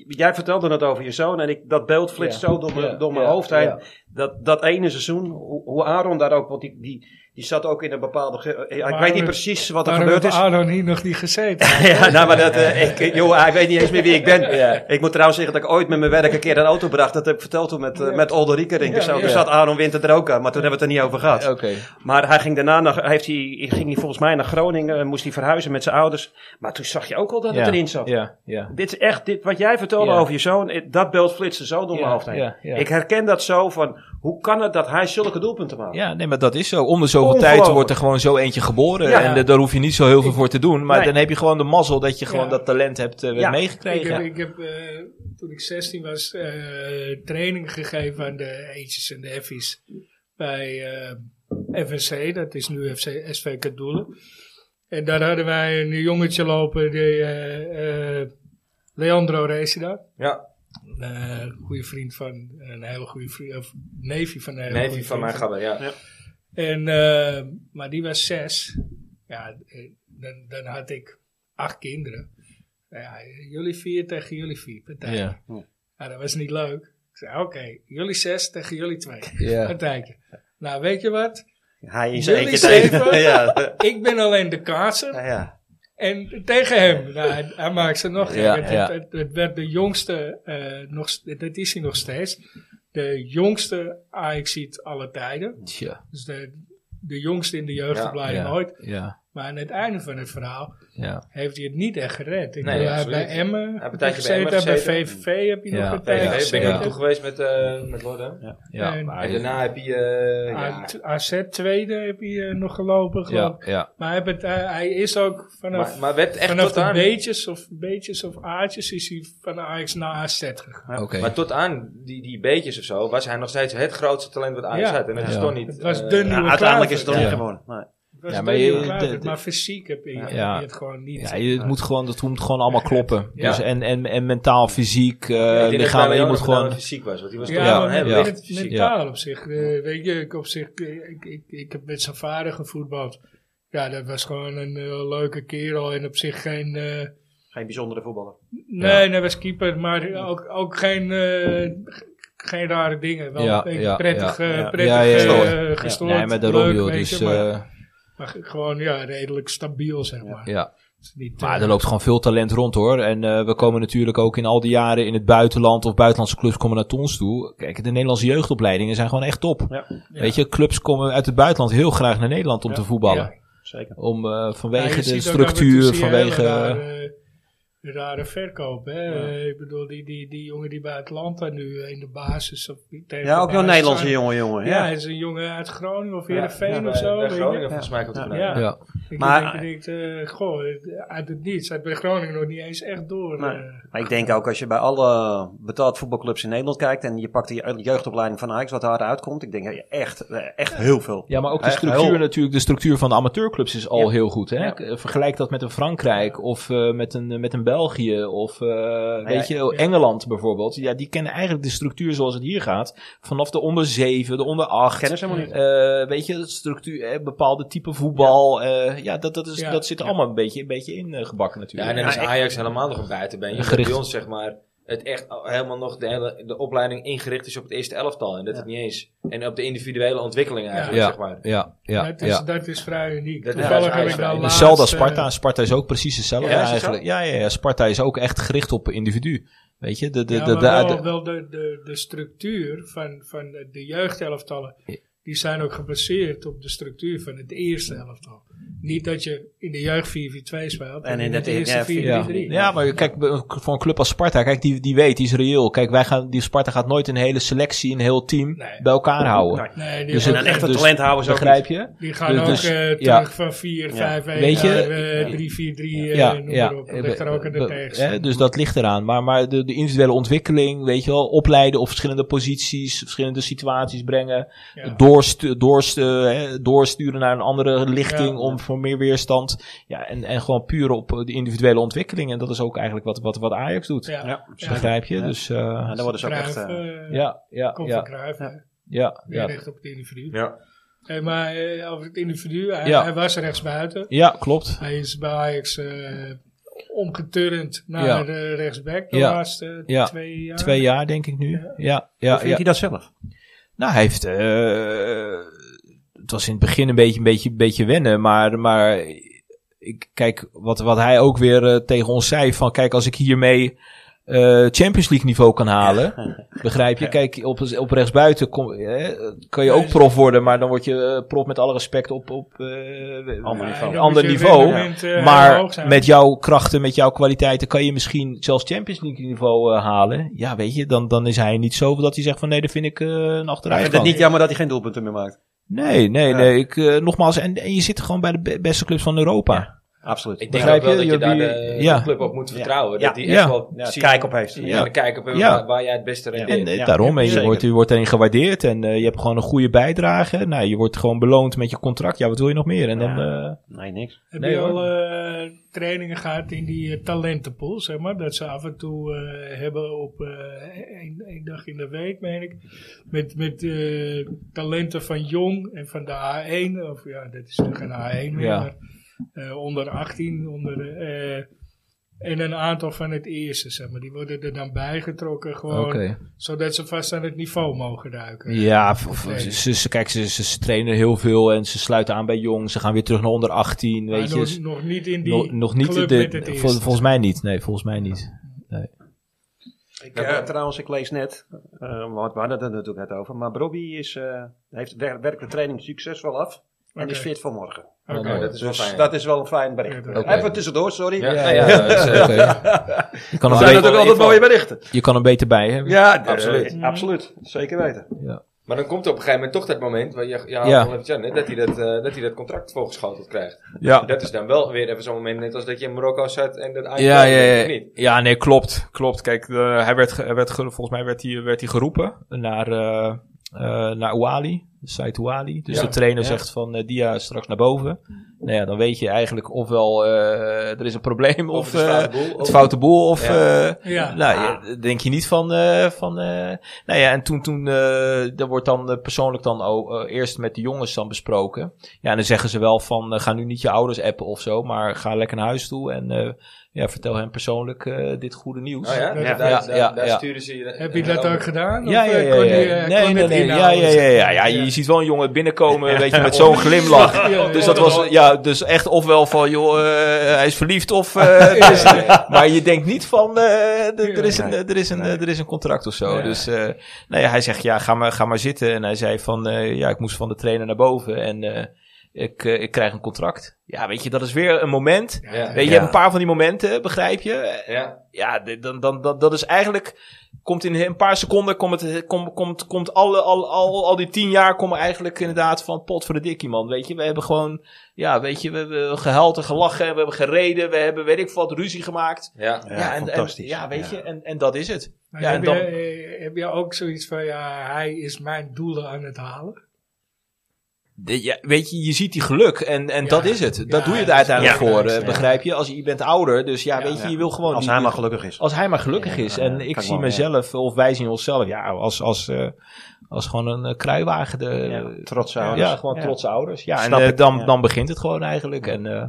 Jij vertelde het over je zoon en ik, dat beeld flitst Ja. zo door mijn, Ja, door mijn ja, hoofd heen. ja. Dat, dat ene seizoen, hoe hoe Aaron daar ook, want die, die, die zat ook in een bepaalde. ge- Ik Maar weet niet we- precies wat er Waarom gebeurd heeft is. Aaron hier nog niet gezeten? Ja, nou, maar dat, eh, ik, joh, hij weet niet eens meer wie ik ben. Ik moet trouwens zeggen dat ik ooit met mijn werk een keer een auto bracht. Dat heb ik verteld toen met, eh, met Olde Riekering. en zo. Toen ja. zat Aaron Winter er ook aan, maar toen hebben we het er niet over gehad. Oké. Maar hij ging daarna naar, hij heeft hij, ging hij volgens mij naar Groningen en moest hij verhuizen met zijn ouders. Maar toen zag je ook al dat het Ja, erin zat. Ja, ja. Dit is echt, dit, wat jij vertelde Ja. over je zoon, eh, dat beeld flitste zo door Ja, mijn hoofd heen. ja, ja. Ik herken dat zo van, hoe kan het dat hij zulke doelpunten maakt? Ja, nee, maar dat is zo. Om de zoveel Ongelooflijk. tijd wordt er gewoon zo eentje geboren. Ja. En eh, daar hoef je niet zo heel veel voor te doen. Maar Nee. dan heb je gewoon de mazzel dat je gewoon Ja. dat talent hebt eh, Ja. Ik heb, meegekregen. ik heb eh, toen ik 16 was, eh, training gegeven aan de Eetjes en de F's bij eh FNC, dat is nu FC, SV Kadoelen. En daar hadden wij een jongetje lopen, die, eh, eh, Leandro Resida. Ja, Een eh, goede vriend van, een hele goede vriend, of neefje van een hele goede nee, van mijn vriend gabber, ja. en, eh, maar die was zes. Ja, eh, dan, dan had ik acht kinderen. Nou ja, jullie vier tegen jullie vier partij. Ja. Ja. dat was niet leuk. Ik zei, oké, jullie zes tegen jullie twee Ja. partijtje. Nou, weet je wat? Hij is Jullie eentje zeven? tegen. ja, Ik ben alleen de kaatser ja, ja. en tegen hem. Nou, hij, hij maakt ze nog. Ja, het, ja. Het, het werd de jongste, eh, nog, st- dat is hij nog steeds, de jongste Ajaxiet alle tijden. Tja. Dus de, de jongste in de jeugd Ja, blijft Ja. nooit. Ja. Maar aan het einde van het verhaal Ja. heeft hij het niet echt gered. Ik Nee, bedoel, hij heeft absoluut. bij Emmen heeft een tijdje bij gezeten, Emmen bij gezeten. VVV heb je Ja, nog een Ja, Ja, ik tijdje ben ja. ook toe geweest met, eh met Lorde. Ja. En- Maar- En daarna heb je... eh, ja, A- AZ tweede heb hij eh, nog gelopen, geloof Ja. ik. Ja. Maar hij, heeft het, hij- hij is ook vanaf, maar, maar werd echt vanaf tot de aan... beetjes of, beetjes of aardjes is hij van Ajax naar AZ gegaan. Oké. Maar tot aan die, die beetjes of zo was hij nog steeds het grootste talent wat Ajax Ja. had. En dat is Ja. toch niet... Het was eh, de nieuwe Ja, uiteindelijk is het toch Klaver. niet Ja. gewoon. Nee. Het was Ja, de maar je- nieuwe de- Klaver, de- maar fysiek heb je, heb je Ja. het gewoon niet. Ja, je- het moet gewoon, dat moet gewoon allemaal kloppen. Ja. Dus en, en, en mentaal, fysiek, eh ik denk dat lichaam. Je Mariano moet nog wel gewoon. fysiek was, want die was Ja, toch wel maar een hele met- ja. lichte met- fysiek. mentaal op zich. eh, weet je, ik, op zich eh, ik, ik, ik heb met zijn vader gevoetbald. Ja, dat was gewoon een eh, leuke kerel en op zich geen... eh, Geen bijzondere voetballer. nee, dat was keeper, maar ook, ook geen, eh, g- geen rare dingen. Wel Ja, een beetje ja, prettig, eh, ja. prettig Ja, ja, ja. eh, gestoord, Nee, maar daarom leuk, joh. weet Dus, je, maar, eh, maar g- gewoon ja, redelijk stabiel, zeg maar. ja. Dus niet, Maar eh, er loopt gewoon veel talent rond hoor. En eh, we komen natuurlijk ook in al die jaren in het buitenland of buitenlandse clubs komen naar ons toe. Kijk, de Nederlandse jeugdopleidingen zijn gewoon echt top. Ja, Weet je, clubs komen uit het buitenland heel graag naar Nederland om Ja. te voetballen. ja. zeker. Om, eh, Ja, vanwege je eh, de ziet ook dat we structuur, toen zie je hele vanwege... rare, eh, rare verkoop. Hè? Ja. Eh, ik bedoel, die, die, die jongen die bij Atlanta nu eh, in de basis... Of, tegen Ja, de ook wel basis een Nederlandse eh, staat. jongen, jongen. Ja, Ja. hij is een jongen uit Groningen of Ja, Heerenveen ja, of zo. bij weet je. Groningen volgens mij komt hij Ja. vandaan. Ja. Ja. Ik Maar- maar, denk, ik denk, eh, goh, uit het niets. Hij had bij Groningen nog niet eens echt door. Nee. eh. Maar ik denk ook als je bij alle betaald voetbalclubs in Nederland kijkt en je pakt de jeugdopleiding van Ajax wat daar uitkomt, ik denk dat je echt, eh, echt heel veel. Ja, maar ook de Echt structuur heel- natuurlijk. De structuur van de amateurclubs is al Ja. heel goed. Hè? Ja. Eh, Vergelijk dat met een Frankrijk of eh, met, een, met een België of eh, weet je, Nou ja. Engeland bijvoorbeeld. Ja, die kennen eigenlijk de structuur zoals het hier gaat. Vanaf de onder 7, de onder 8. Kennen ze helemaal niet. Eh, weet je, structuur, eh, bepaalde type voetbal. Ja, ja dat, dat, is, Ja. dat zit er allemaal een beetje, een beetje in eh, gebakken Ja, natuurlijk. en dan is Ajax helemaal nog een buitenbeentje. Gericht. Gericht. Bij ons, zeg maar, het echt al- helemaal nog de, hele, de opleiding ingericht is op het eerste elftal. En dat het niet eens. En op de individuele ontwikkeling eigenlijk, Ja. zeg maar. ja, ja, dat, is, dat is vrij uniek. Dat is Toevallig vrij heb ik uniek. nou En laatst... Hetzelfde als eh, Sparta. Sparta is ook precies hetzelfde Ja, is het zo? eigenlijk. Ja, ja, ja, Sparta is ook echt gericht op individu. Weet je, de, de, ja, de, maar de- wel, de- wel de, de, de structuur van, van de- de jeugdelftallen. Ja. Die zijn ook gebaseerd op de structuur van het eerste elftal. Niet dat je in de jeugd 4-4-2 speelt. En in het dat- eerste ja, 4-3-3. ja. ja, maar kijk, be- voor een club als Sparta, kijk, die, die weet, die is reëel. Kijk, wij gaan, die Sparta gaat nooit een hele selectie, een heel team Nee. Nou, bij elkaar houden. Nee. Nee, die, Dus En gaan- een echte Dus- talent houden ze ook Begrijp niet. je? die gaan dus- ook dus- eh, ja. terug van 4, Ja. 5, 1 Weet je, naar eh, 3-4-3. eh, ja, noem ja. maar op. Dat ligt er ook in de Be- tegenstander. hè, dus dat ligt eraan. Maar, maar de, de individuele ontwikkeling, weet je wel, opleiden op verschillende posities, verschillende situaties brengen, Ja. doorstu doorstu hè, doorsturen naar een andere lichting Ja. om voor meer weerstand. Ja, en, en gewoon puur op eh, de individuele ontwikkeling. En dat is ook eigenlijk wat, wat, wat Ajax doet. Ja. Ja. Dus Begrijp je? Dus eh, Ja, dan worden ze ook echt... Cruijff, eh, eh, ja, ja, Kom van ja, Cruijff, hè. ja, Weer ja. recht op het individu. Ja. Hey, maar eh, over het individu, hij, Ja. hij was rechtsbuiten. Ja, klopt. Hij is bij Ajax eh, omgeturnd naar Ja. eh, rechtsback de Ja. laatste Ja. twee jaar. Twee jaar denk ik nu. Ja, ja, Hoe ja. vindt hij dat zelf? Nou, hij heeft. eh, het was in het begin een beetje, een beetje, een beetje wennen. Maar, maar ik, kijk, wat, wat hij ook weer eh, tegen ons zei: van kijk, als ik hiermee. eh, Champions League niveau kan halen. Begrijp je? Kijk, op, op rechtsbuiten kom, eh, kan je ook prof worden, maar dan word je eh, prof met alle respect op, op eh, Ander Ja, en niveau. dan Ander moet je niveau, weer een moment, eh, hoog maar zijn. met jouw krachten, met jouw kwaliteiten kan je misschien zelfs Champions League niveau eh, halen. Ja, weet je, dan, dan is hij niet zo dat hij zegt van nee, dat vind ik eh, een Ik vind achteruitgang. het niet jammer dat hij geen doelpunten meer maakt. Nee, nee, Ja. nee. Ik, eh, nogmaals, en, en je zit gewoon bij de be- beste clubs van Europa. Ja, Absoluut. Ik denk Begrijp ook wel je? dat je, Je daar hebt de, die- ja. de club op moet Ja. vertrouwen. Ja. Dat die echt Ja. wel Ja, ziet- kijk op heeft. Ja, Ja. dan kijk op hem Ja. waar, waar jij het beste Ja. rendeert. en eh, ja, daarom, en je zeker. wordt, je wordt erin gewaardeerd en eh, je hebt gewoon een goede bijdrage. Nou, je wordt gewoon beloond met je contract. Ja, wat wil je nog meer? En dan, Ja. eh, Nee, niks. Heb Nee, je hoor. al eh, trainingen gehad in die eh, talentenpool, zeg maar? Dat ze af en toe eh, hebben op eh, één één dag in de week, meen ik. Met, met eh, talenten van jong en van de A1. Of ja, dat is toch geen A1 meer, Ja. maar eh, onder 18. Onder, eh, en een aantal van het eerste, zeg maar. Die worden er dan bijgetrokken gewoon. eh, oké. Zodat ze vast aan het niveau mogen duiken. Ja, v- v- Oké. ze, ze- kijk, ze, ze, ze trainen heel veel en ze sluiten aan bij jong. Ze gaan weer terug naar onder 18, Maar weet je. nog, Ze- nog niet in die nog, nog niet, club de, met het vol- eerste. volgens mij niet. Nee, volgens mij niet. Ik, eh, trouwens, ik lees net, eh, want we hadden het er natuurlijk net over, maar Bobby is, eh, heeft, wer- werkt de training succesvol af en Oké. is fit voor morgen. Oké. Oh, nee. eh, Dat is wel Dus fijn. dat is wel een fijn bericht. Oké. Even tussendoor, sorry. ja, ja, Er ja, dat is, eh, Je kan, er zijn dat beter, natuurlijk altijd mooie berichten. je kan er beter bij hebben. Ja, Absoluut. absoluut. absoluut. Zeker weten. Maar dan komt er op een gegeven moment toch dat moment, waar je, ja, Ja. al eventjes aan, hè, dat hij dat, eh, dat, hij dat contract volgeschoteld krijgt. Ja. Dat is dan wel weer even zo'n moment, net als dat je in Marokko zat en dat Ajax Ja, wel ja, deed, of ja, niet. ja, nee, klopt. Klopt. Kijk, eh, hij werd, ge- hij werd, ge- volgens mij werd hij, werd hij geroepen naar, eh eh naar Ouali, Said Ouali. Dus Ja, de trainer ja. zegt van eh, Dia is straks naar boven. Nou ja, dan weet je eigenlijk ofwel eh er is een probleem Of of, het is foute boel, eh, het of- foute boel of... Ja. eh, Ja. Nou, Ah. ja, denk je niet van, eh, van eh, nou ja, en toen, toen eh er wordt dan eh, persoonlijk dan oh, eh, eerst met de jongens dan besproken. Ja, en dan zeggen ze wel van, eh, ga nu niet je ouders appen of zo, maar ga lekker naar huis toe en eh, ja, vertel hen persoonlijk eh, dit goede nieuws. Oh ja, Ja, daar, ja, daar- ja, daar ja. sturen ze je... Heb je dat ook gedaan? Ja, Of, ja, eh, ja, kon ja. die, eh, Nee, kon nee, het nee. Ja, inhouden? ja, ja, ja, ja. Je ziet wel een jongen binnenkomen, weet je, met zo'n glimlach. Ja, Dus ja, dat ja. was, ja, dus echt ofwel van, joh, eh, hij is verliefd of... eh, het is- maar je denkt niet van, eh, d- er, is een, eh, er, is een, er is een contract of zo. Ja. Dus eh, nee, hij zegt, ja, ga maar, ga maar zitten. En hij zei van, eh, ja, ik moest van de trainer naar boven en... eh, Ik, eh, ik krijg een contract. Ja, weet je, dat is weer een moment. Ja. Weet je, je Ja. hebt een paar van die momenten, begrijp je? Ja. Ja, dit- dan, dan, dan, dat is eigenlijk... Komt in een paar seconden, komt, het, komt, komt, komt alle, al, al, al die tien jaar komen eigenlijk inderdaad van pot voor de dikkie, man. Weet je, we hebben gewoon, ja, weet je, we hebben gehuild en gelachen, we hebben gereden, we hebben, weet ik wat, ruzie gemaakt. Ja. Ja, en, en- fantastisch. ja, weet Ja. je, en, en dat is het. Maar Ja, heb, en dan- je, eh, heb je ook zoiets van, ja, hij is mijn doelen aan het halen? De- ja, weet je, je ziet die geluk en, en Ja. dat is het. Dat Ja, doe je dat het is het uiteindelijk voor, belangrijkste, eh, ja. begrijp je? Als je, je bent ouder, dus ja, Ja, weet je, ja. je wil gewoon... Als die- hij maar gelukkig is. als hij maar gelukkig Ja, is. ja, En ja, ik kan zie wel, ja. mezelf, of wij zien onszelf, ja, als, als, eh, als gewoon een eh, kruiwagen. De, Ja, ja, trotse ouders. gewoon Ja. trotse ouders. Ja, en Snap eh, ik, dan, ja. dan begint het gewoon eigenlijk. En eh,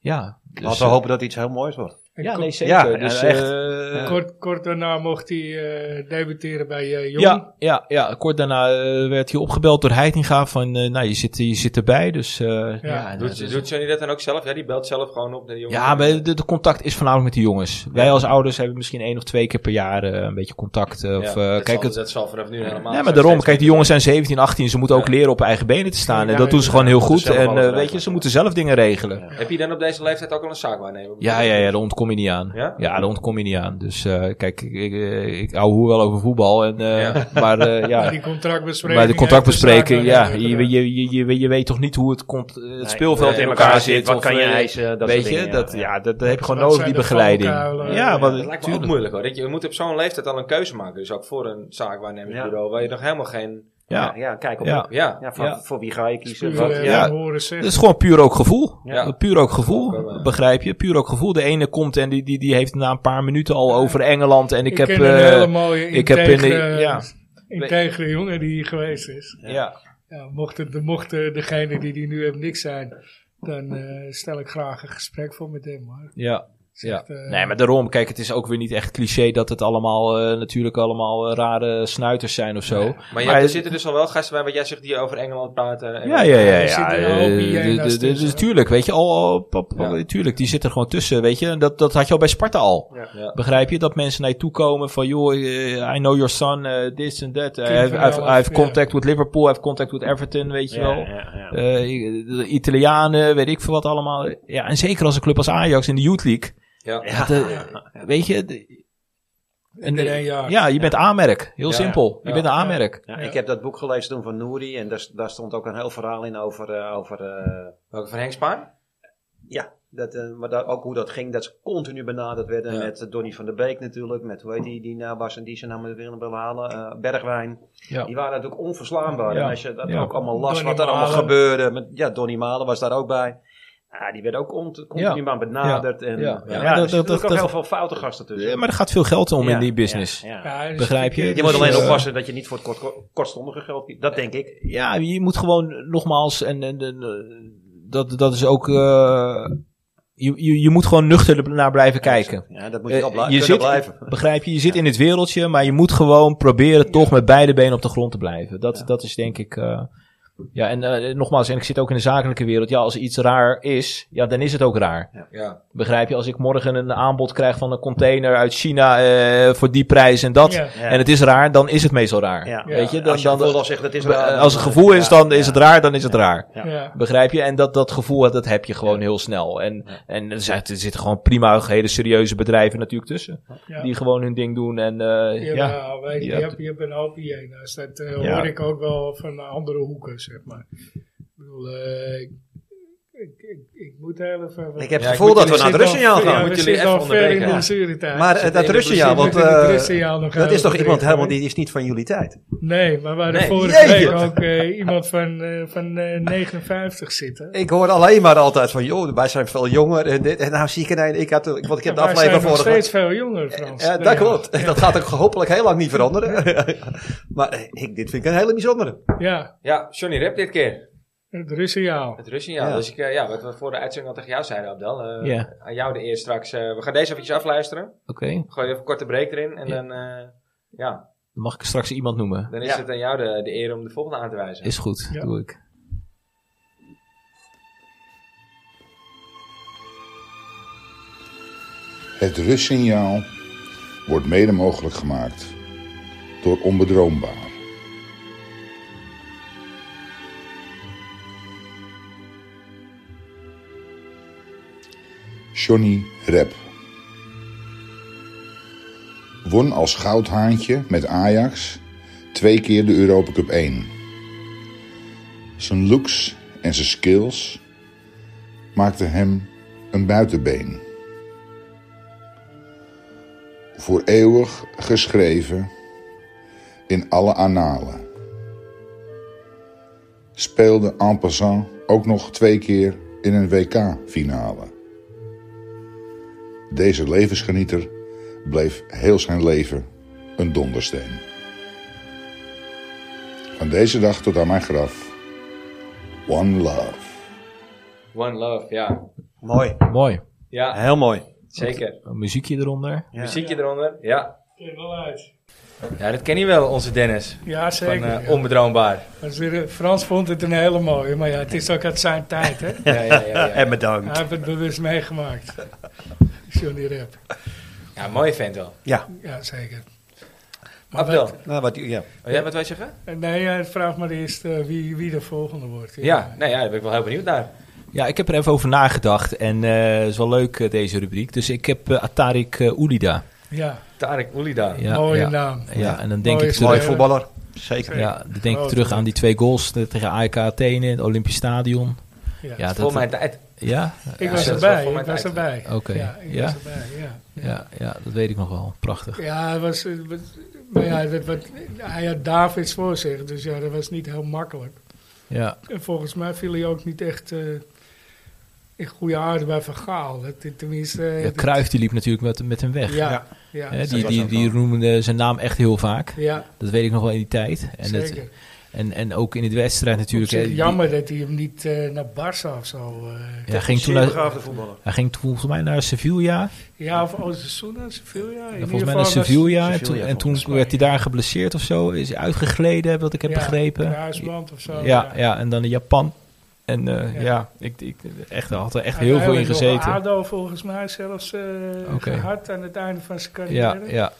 ja, dus, Laten we eh, hopen dat het iets heel moois wordt. En Ja, ko- nee, zeker. Ja, dus, eh, echt. eh, kort, kort daarna mocht hij eh, debuteren bij eh Jong. Ja, ja, ja, kort daarna eh, werd hij opgebeld door Heitinga van, eh, nou, je zit, je zit erbij, dus... eh, ja, en dat Doet, is- doet Johnny dat dan ook zelf? Ja, die belt zelf gewoon op. De jongen. Ja, maar de, de contact is voornamelijk met de jongens. Wij als ouders hebben misschien één of twee keer per jaar eh, een beetje contact. eh, Ja, of, eh, dat kijk, zal, het, dat zal vanaf nu helemaal. Ja, zo maar daarom. steeds Kijk, die jongens zijn 17, 18. Ze moeten ook Ja. leren op eigen benen te staan. En Ja, dat doen ze gewoon heel goed. zelf En alles eh, weet regelen. je, ze moeten zelf dingen regelen. Ja. meer. Heb je dan op deze leeftijd ook al een zaakwaarnemer? Ja, ja, ja, daar ontkom je niet aan. Ja? daar ontkom je niet aan. Dus eh, kijk, ik, ik, eh, ik hou hoe wel over voetbal. En, eh, Ja. Maar eh, Bij ja, die contractbespreking. bij de contractbespreking, heeft de ja, zaak- eh, je, je, je, je, je weet toch niet hoe het, komt, eh, het speelveld eh, in elkaar zit. Wat of, kan je eh, eisen? Dat Weet soort je, dingen, ja. dat, ja, dat, dat heb je gewoon Wat nodig, zijn die de begeleiding. valkuilen? Ja, Dat want lijkt me ook moeilijk hoor. Dat je, je moet op zo'n leeftijd al een keuze maken. Dus ook voor een zaakwaarnemersbureau waar je nog helemaal geen... ja, ja, kijk op. ja. Ja, Ja, van, Ja. voor wie ga je kiezen? Puur, Wat- eh, ja. horen zeggen. Het is gewoon puur ook gevoel. Ja. Puur ook Ook wel, gevoel, eh, ja. begrijp je? Puur ook gevoel. De ene komt en die, die, die heeft na een paar minuten al over Engeland. En ik, ik, heb... ken een eh, hele mooie ik heb in integre, de- ja. integre jongen die hier geweest is. ja. Ja, mocht, het, mocht eh, degene die die nu heeft niks zijn, dan eh, stel ik graag een gesprek voor met hem. hoor. Ja. Ja. Zegt, eh, Nee, maar daarom, kijk, het is ook weer niet echt cliché dat het allemaal eh, natuurlijk allemaal eh, rare snuiters zijn of zo. Maar, je Maar- er zitten dus al wel gasten bij wat jij zegt die over Engeland praten. en- Ja, ja, ja. Er zit ja, een eh, hoop hyena's de- de- de- tussen. Dus tuurlijk, weet je, al, al- pap- Ja. pap- tuurlijk, die zit er gewoon tussen, weet je. En Dat, dat had je al bij Sparta al. Ja. Ja. Begrijp je? Dat mensen naar je toe komen van, joh, eh, I know your son, eh, this and that. I van have, I've- elf, I've ja. contact with Liverpool, I have contact with Everton, weet je Ja, wel. ja, ja. Eh, de Italianen, weet ik veel wat allemaal. Ja, en zeker als een club als Ajax in de Youth League. Ja. Ja, de- weet je... de- en- Iedereen jaagt. ja, je bent aanmerk. Heel Ja. simpel. Je Ja. bent een aanmerk. Ja, Ja. Ik heb dat boek gelezen toen van Nouri en daar, daar stond ook een heel verhaal in over, eh, over eh, Welke van Henk Spaan? ja, dat, eh, maar dat, ook hoe dat ging, dat ze continu benaderd werden Ja. met eh, Donny van der Beek natuurlijk, met hoe heet die, die nou was en die ze nou met willen willen halen, eh, Bergwijn. Ja. Die waren natuurlijk onverslaanbaar. Ja. En als je dat Ja. ook allemaal las, Donny wat er allemaal Malen. gebeurde. Met, ja, Donny Malen was daar ook bij. Ja, die werd ook ont- continu maar benaderd. En, Ja. Ja, ja. er dat- zitten dat- natuurlijk ook dat- heel veel foute gasten tussen. Ja, maar er gaat veel geld om Ja, in die ja, business. Ja, ja. ja, dus- Begrijp je? Je moet alleen Dus, eh, oppassen dat je niet voor het kort, kort- kortstondige geld kiest. Dat denk ik. je moet gewoon nogmaals... En, en, en, eh, dat, dat is ook... eh, je, je, je moet gewoon nuchter naar blijven kijken. Ja, dat moet je wel blij- Eh, je kunnen zit, blijven. Begrijp je? Je zit in het wereldje, maar je moet gewoon proberen toch met beide benen op de grond te blijven. Dat, Ja. dat is denk ik. eh, ja, en eh, nogmaals, en ik zit ook in de zakelijke wereld. Ja, als iets raar is, ja, dan is het ook raar. Ja. Begrijp je? Als ik morgen een aanbod krijg van een container uit China eh, voor die prijs en dat. Ja. Ja. En het is raar, dan is het meestal raar. Ja. Weet je? Dan, Dan, als je dan, gevoel al zegt, dat is raar. als het gevoel is, dan is het raar, dan is het raar. Ja. Ja. Begrijp je? En dat, dat gevoel, dat heb je gewoon heel snel. En, Ja. en er zit- er zitten gewoon prima, hele serieuze bedrijven natuurlijk tussen. Ja. Die gewoon hun ding doen en eh, ja. ja. Jawel, weet je, Ja. je, hebt, je hebt een hoop hyena's. Dat eh, Ja. hoor ik ook wel van andere hoeken, zeg maar. Ik bedoel, eh, ik, ik, ik, ik moet heel even... Ik heb Ja, het ik gevoel moet dat we jullie naar het zitten rustsignaal wel- gaan. Ja, we jullie zitten even al ver in onderbreken. de Ja. blessuretijd. Maar eh, zitten dat in de rustsignaal, We want zitten in het eh, rustsignaal nog dat heel is toch even iemand terug, helemaal, hè? die is niet van jullie tijd. Nee, maar we hadden Nee. vorige Jeetje. week ook eh, iemand van, eh, van eh, 59 zitten. Ik hoor alleen maar altijd van, joh, wij zijn veel jonger en dit. En nou zie ik ineens, ik, had, ik, want ik heb de Maar wij aflevering zijn nog vorige Eh, steeds eh, veel jonger, Frans. Ja, dat klopt. Dat gaat ook hopelijk heel lang niet veranderen. maar eh, ik, dit vind ik een hele bijzondere. Ja, ja, Johnny Rep dit keer. het rustsignaal. Het Russiaal. Ja. Dus ik, eh, ja, wat we voor de uitzending al tegen jou zeiden, Abdel. eh, Ja. Aan jou de eer straks. eh, we gaan deze eventjes afluisteren. Oké, Gooi even een korte break erin. En Ja. dan, eh, ja, dan mag ik straks iemand noemen. dan is Ja. het aan jou de, de eer om de volgende aan te wijzen. Is goed, Ja. doe ik. Het rustsignaal wordt mede mogelijk gemaakt door onbedroombaar. Johnny Rep. Won als goudhaantje met Ajax twee keer de Europa Cup 1. Zijn looks en zijn skills maakten hem een buitenbeen. Voor eeuwig geschreven in alle analen. Speelde en passant ook nog twee keer in een WK-finale. Deze levensgenieter bleef heel zijn leven een dondersteen. Van deze dag tot aan mijn graf. One love. One Love, ja. Mooi. Mooi. Ja, Heel mooi. zeker. Een muziekje eronder. Ja. Muziekje eronder, ja. Kijk wel uit. Ja, dat ken je wel, onze Dennis. Ja, Van zeker. eh, ja. Onbedroombaar. Dat is weer- Frans vond het een hele mooie, maar ja, het is ook uit zijn tijd, hè? Ja, ja, ja, ja. En bedankt. Hij heeft het bewust meegemaakt. Johnny Rep. ja mooi vent wel. Ja. Ja, zeker. Abdel, Nou, wat, ja. wil jij wat wij zeggen? Nee, eh, vraag maar eerst eh, wie, wie de volgende wordt. Ja, nou ja, daar ben ik wel heel benieuwd naar. Ja, ik heb er even over nagedacht. En eh, het is wel leuk, eh, deze rubriek. Dus ik heb eh, Atarik eh, Oelida. Ja, Tarek Oelida. Ja, mooie ja. naam. Ja, en dan denk Mooie ik speler. terug, Mooi voetballer. Zeker. Zeker. ja, dan denk ik Groot terug talent. aan die twee goals eh, tegen AEK Athene in het Olympisch Stadion. Ja. Ja, Voor dat, mijn tijd. ja, Ik Ja, was dat is wel erbij, voor mijn ik was tijd. erbij. Oké, Ja, ik ja. was erbij, ja. ja, ja, dat weet ik nog wel. Prachtig. Ja, hij was, eh, wat- maar ja, dat- wat- hij had Davids voor zich, dus ja, dat was niet heel makkelijk. Ja, En volgens mij viel hij ook niet echt eh, in goede aarde bij Van Gaal. Dat, tenminste, eh, ja dat- Cruijff die liep natuurlijk met, met hem weg. Ja, Ja. ja, Hè, ja, die, die, die noemde zijn naam echt heel vaak. ja Dat weet ik nog wel in die tijd. En, dat- zeker. en, en ook in de wedstrijd natuurlijk. Op zich hè, die- jammer dat hij hem niet eh, naar Barça of zo... eh, ja, ging toen Zeer naar, begaafde voetballer. hij ging toen volgens mij naar Sevilla. ja, of Osasuna, Sevilla. in volgens ieder mij geval naar Sevilla. En Sevilla, toen, en volgens toen mij. werd hij daar geblesseerd of zo. Is hij uitgegleden, heb ik wat ik heb Ja, begrepen. Kruisband of zo. Ja, ja, en dan in Japan. En eh, Ja. ja, ik, ik echt, had er echt heel veel in Uiteindelijk nog gezeten. ADO volgens mij zelfs eh Oké. gehad aan het einde van zijn Ja, carrière. ja.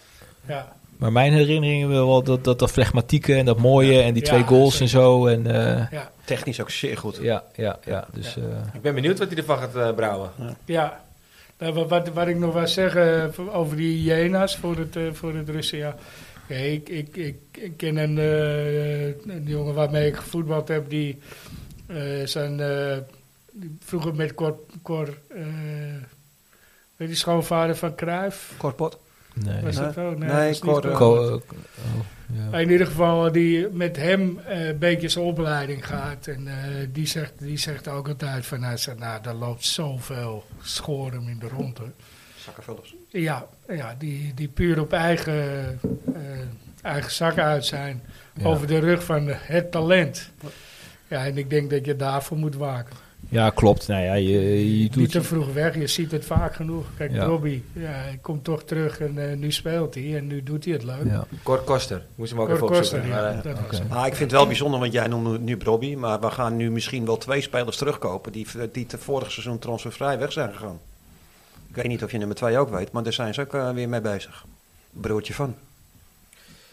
Ja. Maar mijn herinneringen wel wel dat, dat, dat flegmatieke en dat mooie en die Ja, twee goals zeker. en zo. En, eh, Ja. Technisch ook zeer goed. ja, ja, ja. Dus, eh, Ik ben benieuwd wat hij ervan gaat eh, brouwen. Ja. Nou, wat, wat, wat ik nog wou zeggen eh, over die hyena's voor het, eh, voor het Russen, ja. Ja, ik, ik, ik, ik ken een, eh, een jongen waarmee ik gevoetbald heb, die eh, zijn eh, die vroeger met Cor, Cor eh, weet je, schoonvader van Cruijff, Kortpot. nee. was Nee. dat ook? Nee, dat is niet Cor, eh, Ko- eh, oh, ja. Maar in ieder geval, eh, die met hem eh, een beetje zijn opleiding gaat. En eh, die, zegt, die zegt ook altijd van, hij zegt, nou, daar loopt zoveel schorum in de ronde. Zakkenvullers. Ja, ja die, die puur op eigen, eh, eigen zak uit zijn. Ja. Over de rug van het talent. Ja, en ik denk dat je daarvoor moet waken. ja, klopt. Nou ja, je, je Niet doet... te vroeg weg, je ziet het vaak genoeg. Kijk, Ja. Robbie, ja, hij komt toch terug en eh, nu speelt hij en nu doet hij het leuk. Ja. Cor Koster. Moest hem ook Cor even opzoeken. Koster, ja, Maar, eh, dat was oké. hem. Maar Ah, ik vind het wel bijzonder, want jij noemt nu Bobby. Maar we gaan nu misschien wel twee spelers terugkopen die, die te vorig seizoen transfervrij weg zijn gegaan. Ik weet niet of je nummer twee ook weet, maar daar zijn ze ook eh, weer mee bezig. Broertje van.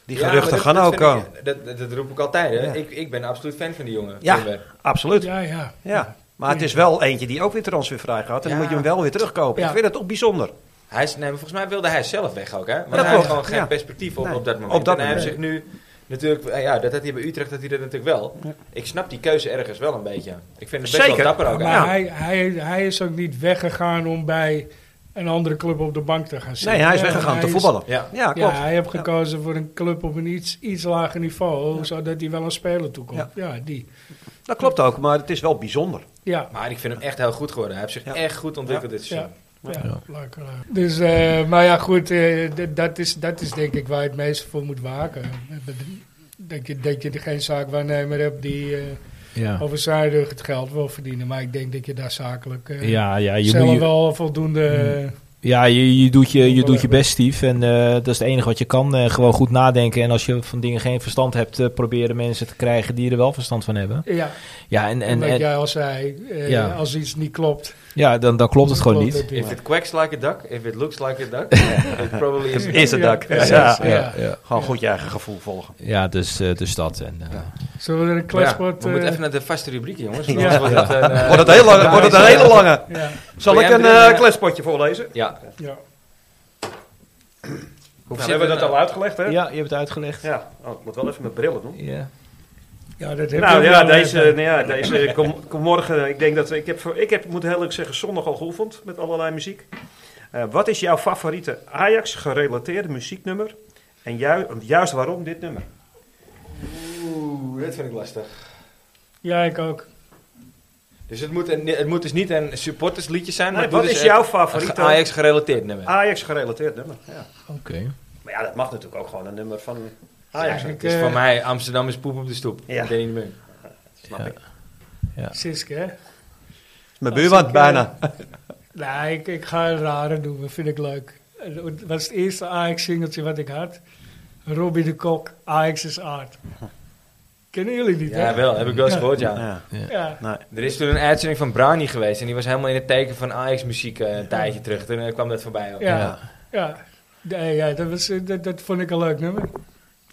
Die ja, geruchten maar dat- gaan dat ook vind komen. ik- Dat, dat, dat roep ik altijd. Hè. Ja. Ik, ik ben absoluut fan van die jongen. Ja. Timber. Absoluut. Ja. Ja, ja. Maar het is wel eentje die ook weer transfervrij gaat. En dan Ja. moet je hem wel weer terugkopen. Ja. Ik vind het toch bijzonder. Hij is, nee, maar volgens mij wilde hij zelf weg ook. Hè? Want Ja, hij had klopt. gewoon geen Ja. perspectief op, Nee, op dat moment. op dat en hij heeft zich moment. nu... Natuurlijk, eh, ja, dat had hij bij Utrecht dat hij dat natuurlijk wel. Ik snap die keuze ergens wel een beetje. Ik vind het best Zeker. wel dapper ook. Maar nou. eigenlijk. hij, hij, hij is ook niet weggegaan om bij een andere club op de bank te gaan zitten. Nee, hij is Ja, weggegaan te is- voetballen. Ja. Ja, Ja, klopt. hij heeft gekozen voor een club op een iets, iets lager niveau, zodat hij wel aan speler toekomt. Ja. Ja, die. Dat klopt ook, maar het is wel bijzonder. Ja, Maar ik vind hem echt heel goed geworden. Hij heeft zich Ja. echt goed ontwikkeld dit ja. seizoen. Ja, Ja. leuk, leuk. Dus, eh, maar ja, goed, eh, d- dat, is, dat is denk ik waar je het meest voor moet waken. Dat je, dat je er geen zaakwaarnemer hebt die eh, Ja. over zijn rug het geld wil verdienen. Maar ik denk dat je daar zakelijk eh, Ja, ja, je Mm. zelf moet, je, wel voldoende... eh, ja je, je doet je, je doet je best, Steve. En eh, dat is het enige wat je kan. Eh, gewoon goed nadenken. En als je van dingen geen verstand hebt, eh, proberen mensen te krijgen die er wel verstand van hebben. eh, ja, Ja, en, en, en, wat en- jij al zei, eh, Ja. als iets niet klopt, Ja, dan, dan klopt het gewoon Klopt niet. het If it quacks like a duck, if it looks like a duck, it probably is. Is het dak. Ja, Ja. ja. Ja, ja. Gewoon goed je eigen gevoel volgen. ja dus, eh, dus dat. En, eh, Zullen we er een Maar ja, kletspot... we moeten eh, even naar de vaste rubriek, jongens. Ja. anders Wordt het, een, eh, Wordt het heel lang, Ja, wordt het een ja. hele lange. ja, Zal Wil ik jij een hem erin, eh, eh, kletspotje voorlezen? Ja. ja. Hoe Nou, we zit hebben het dat nou? al uitgelegd, hè? ja, je hebt het uitgelegd. Ja. Ja. Oh, ik moet wel even mijn brillen doen. Ja, dat heb Nou je ja, wel deze, even. nou ja, deze kom, kom morgen. eh, Ik denk dat we- ik heb, voor- ik heb, moet heel eerlijk zeggen, zondag al geoefend met allerlei muziek. Eh, wat is jouw favoriete Ajax-gerelateerde muzieknummer? En ju- juist waarom dit nummer? Oeh, dat vind ik lastig. Ja, ik ook. Dus het moet, een, het moet dus niet een supportersliedje zijn. Nee, maar het wat moet is dus jouw een ge- favoriete Ah, Ajax gerelateerd nummer? Ajax-gerelateerd nummer? Ja. Oké. Maar ja, dat mag natuurlijk ook gewoon een nummer van Ajax. zijn. ik, Het is eh, voor mij Amsterdam is poep op de stoep. Ja. Ik denk niet meer. Snap Ja. ik. Siske, hè? Mijn buurman, buurman, bijna. bijna. Nee, Nou, ik, ik ga een rare doen. Dat vind ik leuk. Het was het eerste Ajax-singeltje wat ik had. Robbie de Kok, Ajax is aard. Kennen jullie niet, hè? Ja, wel. Heb ik wel eens Ja. gehoord, ja. Ja. Er is toen een uitzending van Brani geweest. En die was helemaal in het teken van Ajax muziek eh, een tijdje terug. Toen eh, kwam dat voorbij. ook. Ja. Ja. Nee, ja, dat, was, eh, dat, dat vond ik een leuk nummer.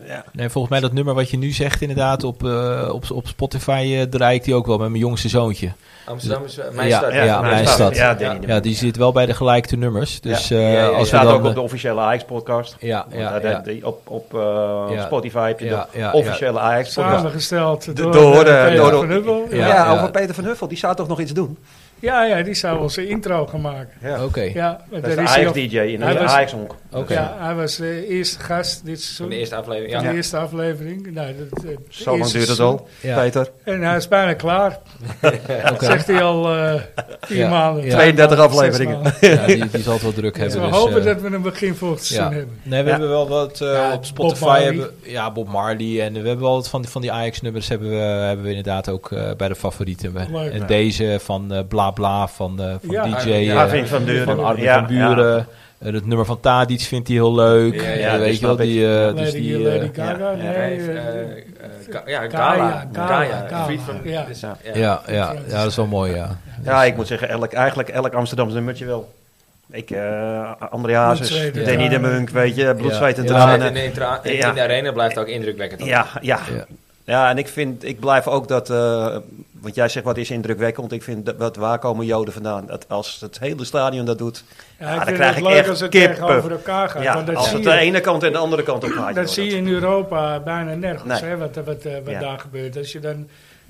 Ja. Nee, volgens mij dat nummer wat je nu zegt inderdaad op, eh, op, op Spotify eh, draai ik die ook wel met mijn jongste zoontje. Amsterdam is eh, mijn Ja, stad. ja, Ja, mijn stad. Ja, Danny de Mol. Ja, die zit wel bij de gelijkte nummers. Dus Ja. eh, Ja, ja, Die als we staat dan... ook op de officiële Ajax-podcast. ja, ja, Daar- ja, die- Op, op eh, Ja. Spotify heb je Ja, de ja, ja. officiële Ajax-podcast. Samengesteld door, door, eh, eh, Peter door- van Hubbel. Ja, Ja, ja. over Peter van Huffel, die zou toch nog iets doen? Ja, ja, die zou onze intro gaan maken. eh, Oké. Ja, want Dat is de daar is hij nog- Ajax-DJ in de Hij was- Ajax-honk. Oké. ja, hij was de eerste gast dit seizoen. Van de eerste aflevering. Van Ja. de eerste aflevering. Nou, dat, eh, Zo lang eerste duurt het seizoen. al, Ja. Peter. En hij is bijna klaar. Dat zegt hij al eh vier Ja. maanden. Ja. 32 Zes afleveringen. maanden. Ja, die, die zal het wel druk Dus we hebben. dus, hopen eh, dat we een begin volgend seizoen hebben. Nee, we Ja. hebben wel wat eh, Ja, op Bob Spotify. Marley. Hebben, ja, Bob Marley. En we hebben wel wat van, die- van die Ajax-nummers hebben we, hebben we inderdaad ook eh, bij de favorieten. We- Leuk. en Ja. deze van eh, Bla Bla van, eh, van Ja. DJ. Ja, eh, Arvin van Buren. van Armin Ja, van Buren. Eh, het nummer van Tadic vindt hij heel leuk. Ja, ja, Eh, dat weet je wel, snap die... eh, Lady, dus die eh, Lady Gaga. ja. Ja, nee, eh, eh, eh, Ga- ja, Gaia, Gala. Gala, Gala. Gaia. Vriend van- Ja. dus- Ja. ja. eh, ja, ja, ja, dat is wel mooi, ja. Ja, ik moet zeggen, elk, eigenlijk elk Amsterdamse nummertje wel. Ik, eh André Hazes, Bloed, zweet en Danny de tranen. Munk, weet je, bloed, Ja. zweet en Ja. Maar tranen. in, de tra- in Ja. de arena blijft het ook indrukwekkend. Ja, ja. Ja. ja. en ik vind, ik blijf ook dat, eh, want jij zegt wat is indrukwekkend, ik vind, dat, wat, waar komen Joden vandaan? Dat, als het hele stadion dat doet, ja, Ja, ik ah, dan vind krijg het ik leuk echt als het kippen. tegenover elkaar gaat. ja, want dat als zie het je, de ene kant en de andere kant op gaat. dat joh, zie je in Europa bijna nergens, Nee. hè, wat, wat, eh, wat Ja. daar gebeurt. Als je dan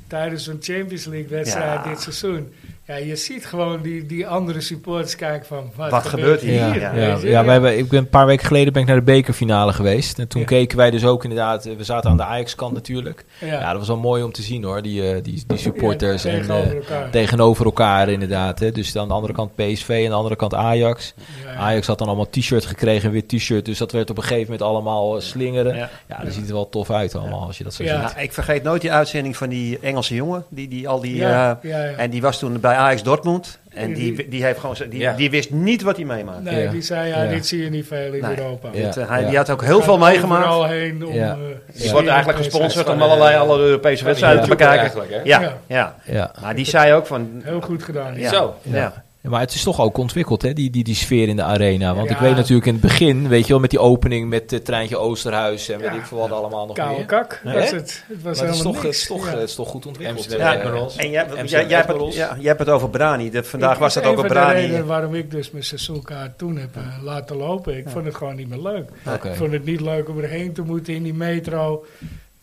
tijdens een Champions League wedstrijd Ja. dit seizoen... Ja, je ziet gewoon die, die andere supporters kijken van... Wat, Wat gebeurt hier? Ja, ja, Ja, ja, weet je? wij hebben, ik ben een paar weken geleden ben ik naar de bekerfinale geweest. En toen Ja. keken wij dus ook inderdaad, eh, we zaten aan de Ajax-kant natuurlijk. Ja. Ja, dat was wel mooi om te zien hoor, die, eh, die, die supporters Ja, en, tegenover eh, elkaar. tegenover elkaar inderdaad. Hè. Dus aan de andere kant PSV en aan de andere kant Ajax. Ja, ja. Ajax had dan allemaal t-shirt gekregen, een wit t-shirt. Dus dat werd op een gegeven moment allemaal eh, slingeren. Ja, Ja. dat ziet er wel tof uit allemaal als je dat zo Ja. ziet. Ja, ik vergeet nooit die uitzending van die Engelse jongen. Die, die al die, Ja, eh, ja, ja. En die was toen bij Ajax Dortmund. En die, die, heeft gewoon, z- die, Ja. die wist niet wat hij meemaakte. Nee, Ja. die zei, ja, Ja. dit zie je niet veel in Nee. Europa. Ja. Het, eh, hij, Die had ook heel Gaat veel meegemaakt. overal heen om... Ja. eh, Die wordt eigenlijk gesponsord om Ja. allerlei alle Europese wedstrijden Ja. te bekijken. Eigenlijk, hè? Ja. Ja, ja. Ja. Maar die zei ook van... Heel goed gedaan. Ja. Zo. Ja. Ja. Ja, maar het is toch ook ontwikkeld, hè, die, die, die sfeer in de arena. Want ik Ja. weet natuurlijk in het begin, weet je wel, met die opening met het treintje Oosterhuis en weet ik veel wat allemaal nog Koude meer. kak Ja, was hè? het. Het was Maar het is helemaal toch, het niks. is toch, eh, Ja. het is toch goed ontwikkeld. Amsterdam eh, Admirals. En jij, jij, Amsterdam jij, hebt het, Admirals. ja, jij hebt het over Brani. Dat, vandaag was dat dat over Een van de Brani. redenen waarom ik dus mijn seizoenkaart toen heb eh, laten lopen. Ik vond het gewoon niet meer leuk. Oké. Ik vond het niet leuk om erheen te moeten in die metro.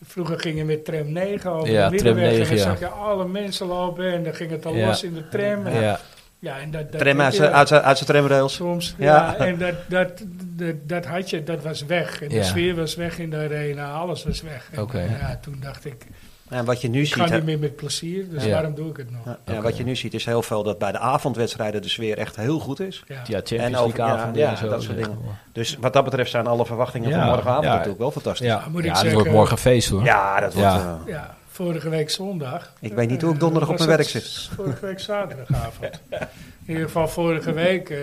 Vroeger ging je met tram 9 over Ja, de Middenweg. tram 9, en dan ja. zag je alle mensen lopen. En dan ging het al Ja. los in de tram. En, ja. Ja, en dat, dat eh, Tram heb uit je zijn- uit zijn uit zijn tramrails. Soms, ja. Ja. En dat, dat, dat, dat had je, dat was weg. En Ja. de sfeer was weg in de arena. Alles was weg. En, Oké. eh, Ja, toen dacht ik, En wat je nu ik ga ziet... hè- niet meer met plezier. Dus Ja. waarom doe ik het nog? Ja, wat je nu ziet is heel veel dat bij de avondwedstrijden de sfeer echt heel goed is. Ja. ja En Champions over- League avonden ja, en zo. dat soort dus, dingen. eh, Dus wat dat betreft zijn alle verwachtingen Ja, van morgenavond ja. natuurlijk wel fantastisch. Ja, Ja, moet ik ja dat zeggen- wordt morgen feest hoor. dat wordt... Ja. eh, Ja, vorige week zondag. Ik weet niet hoe ik donderdag op Was mijn dat werk zit. s- Vorige week zaterdagavond. In ieder geval vorige week eh,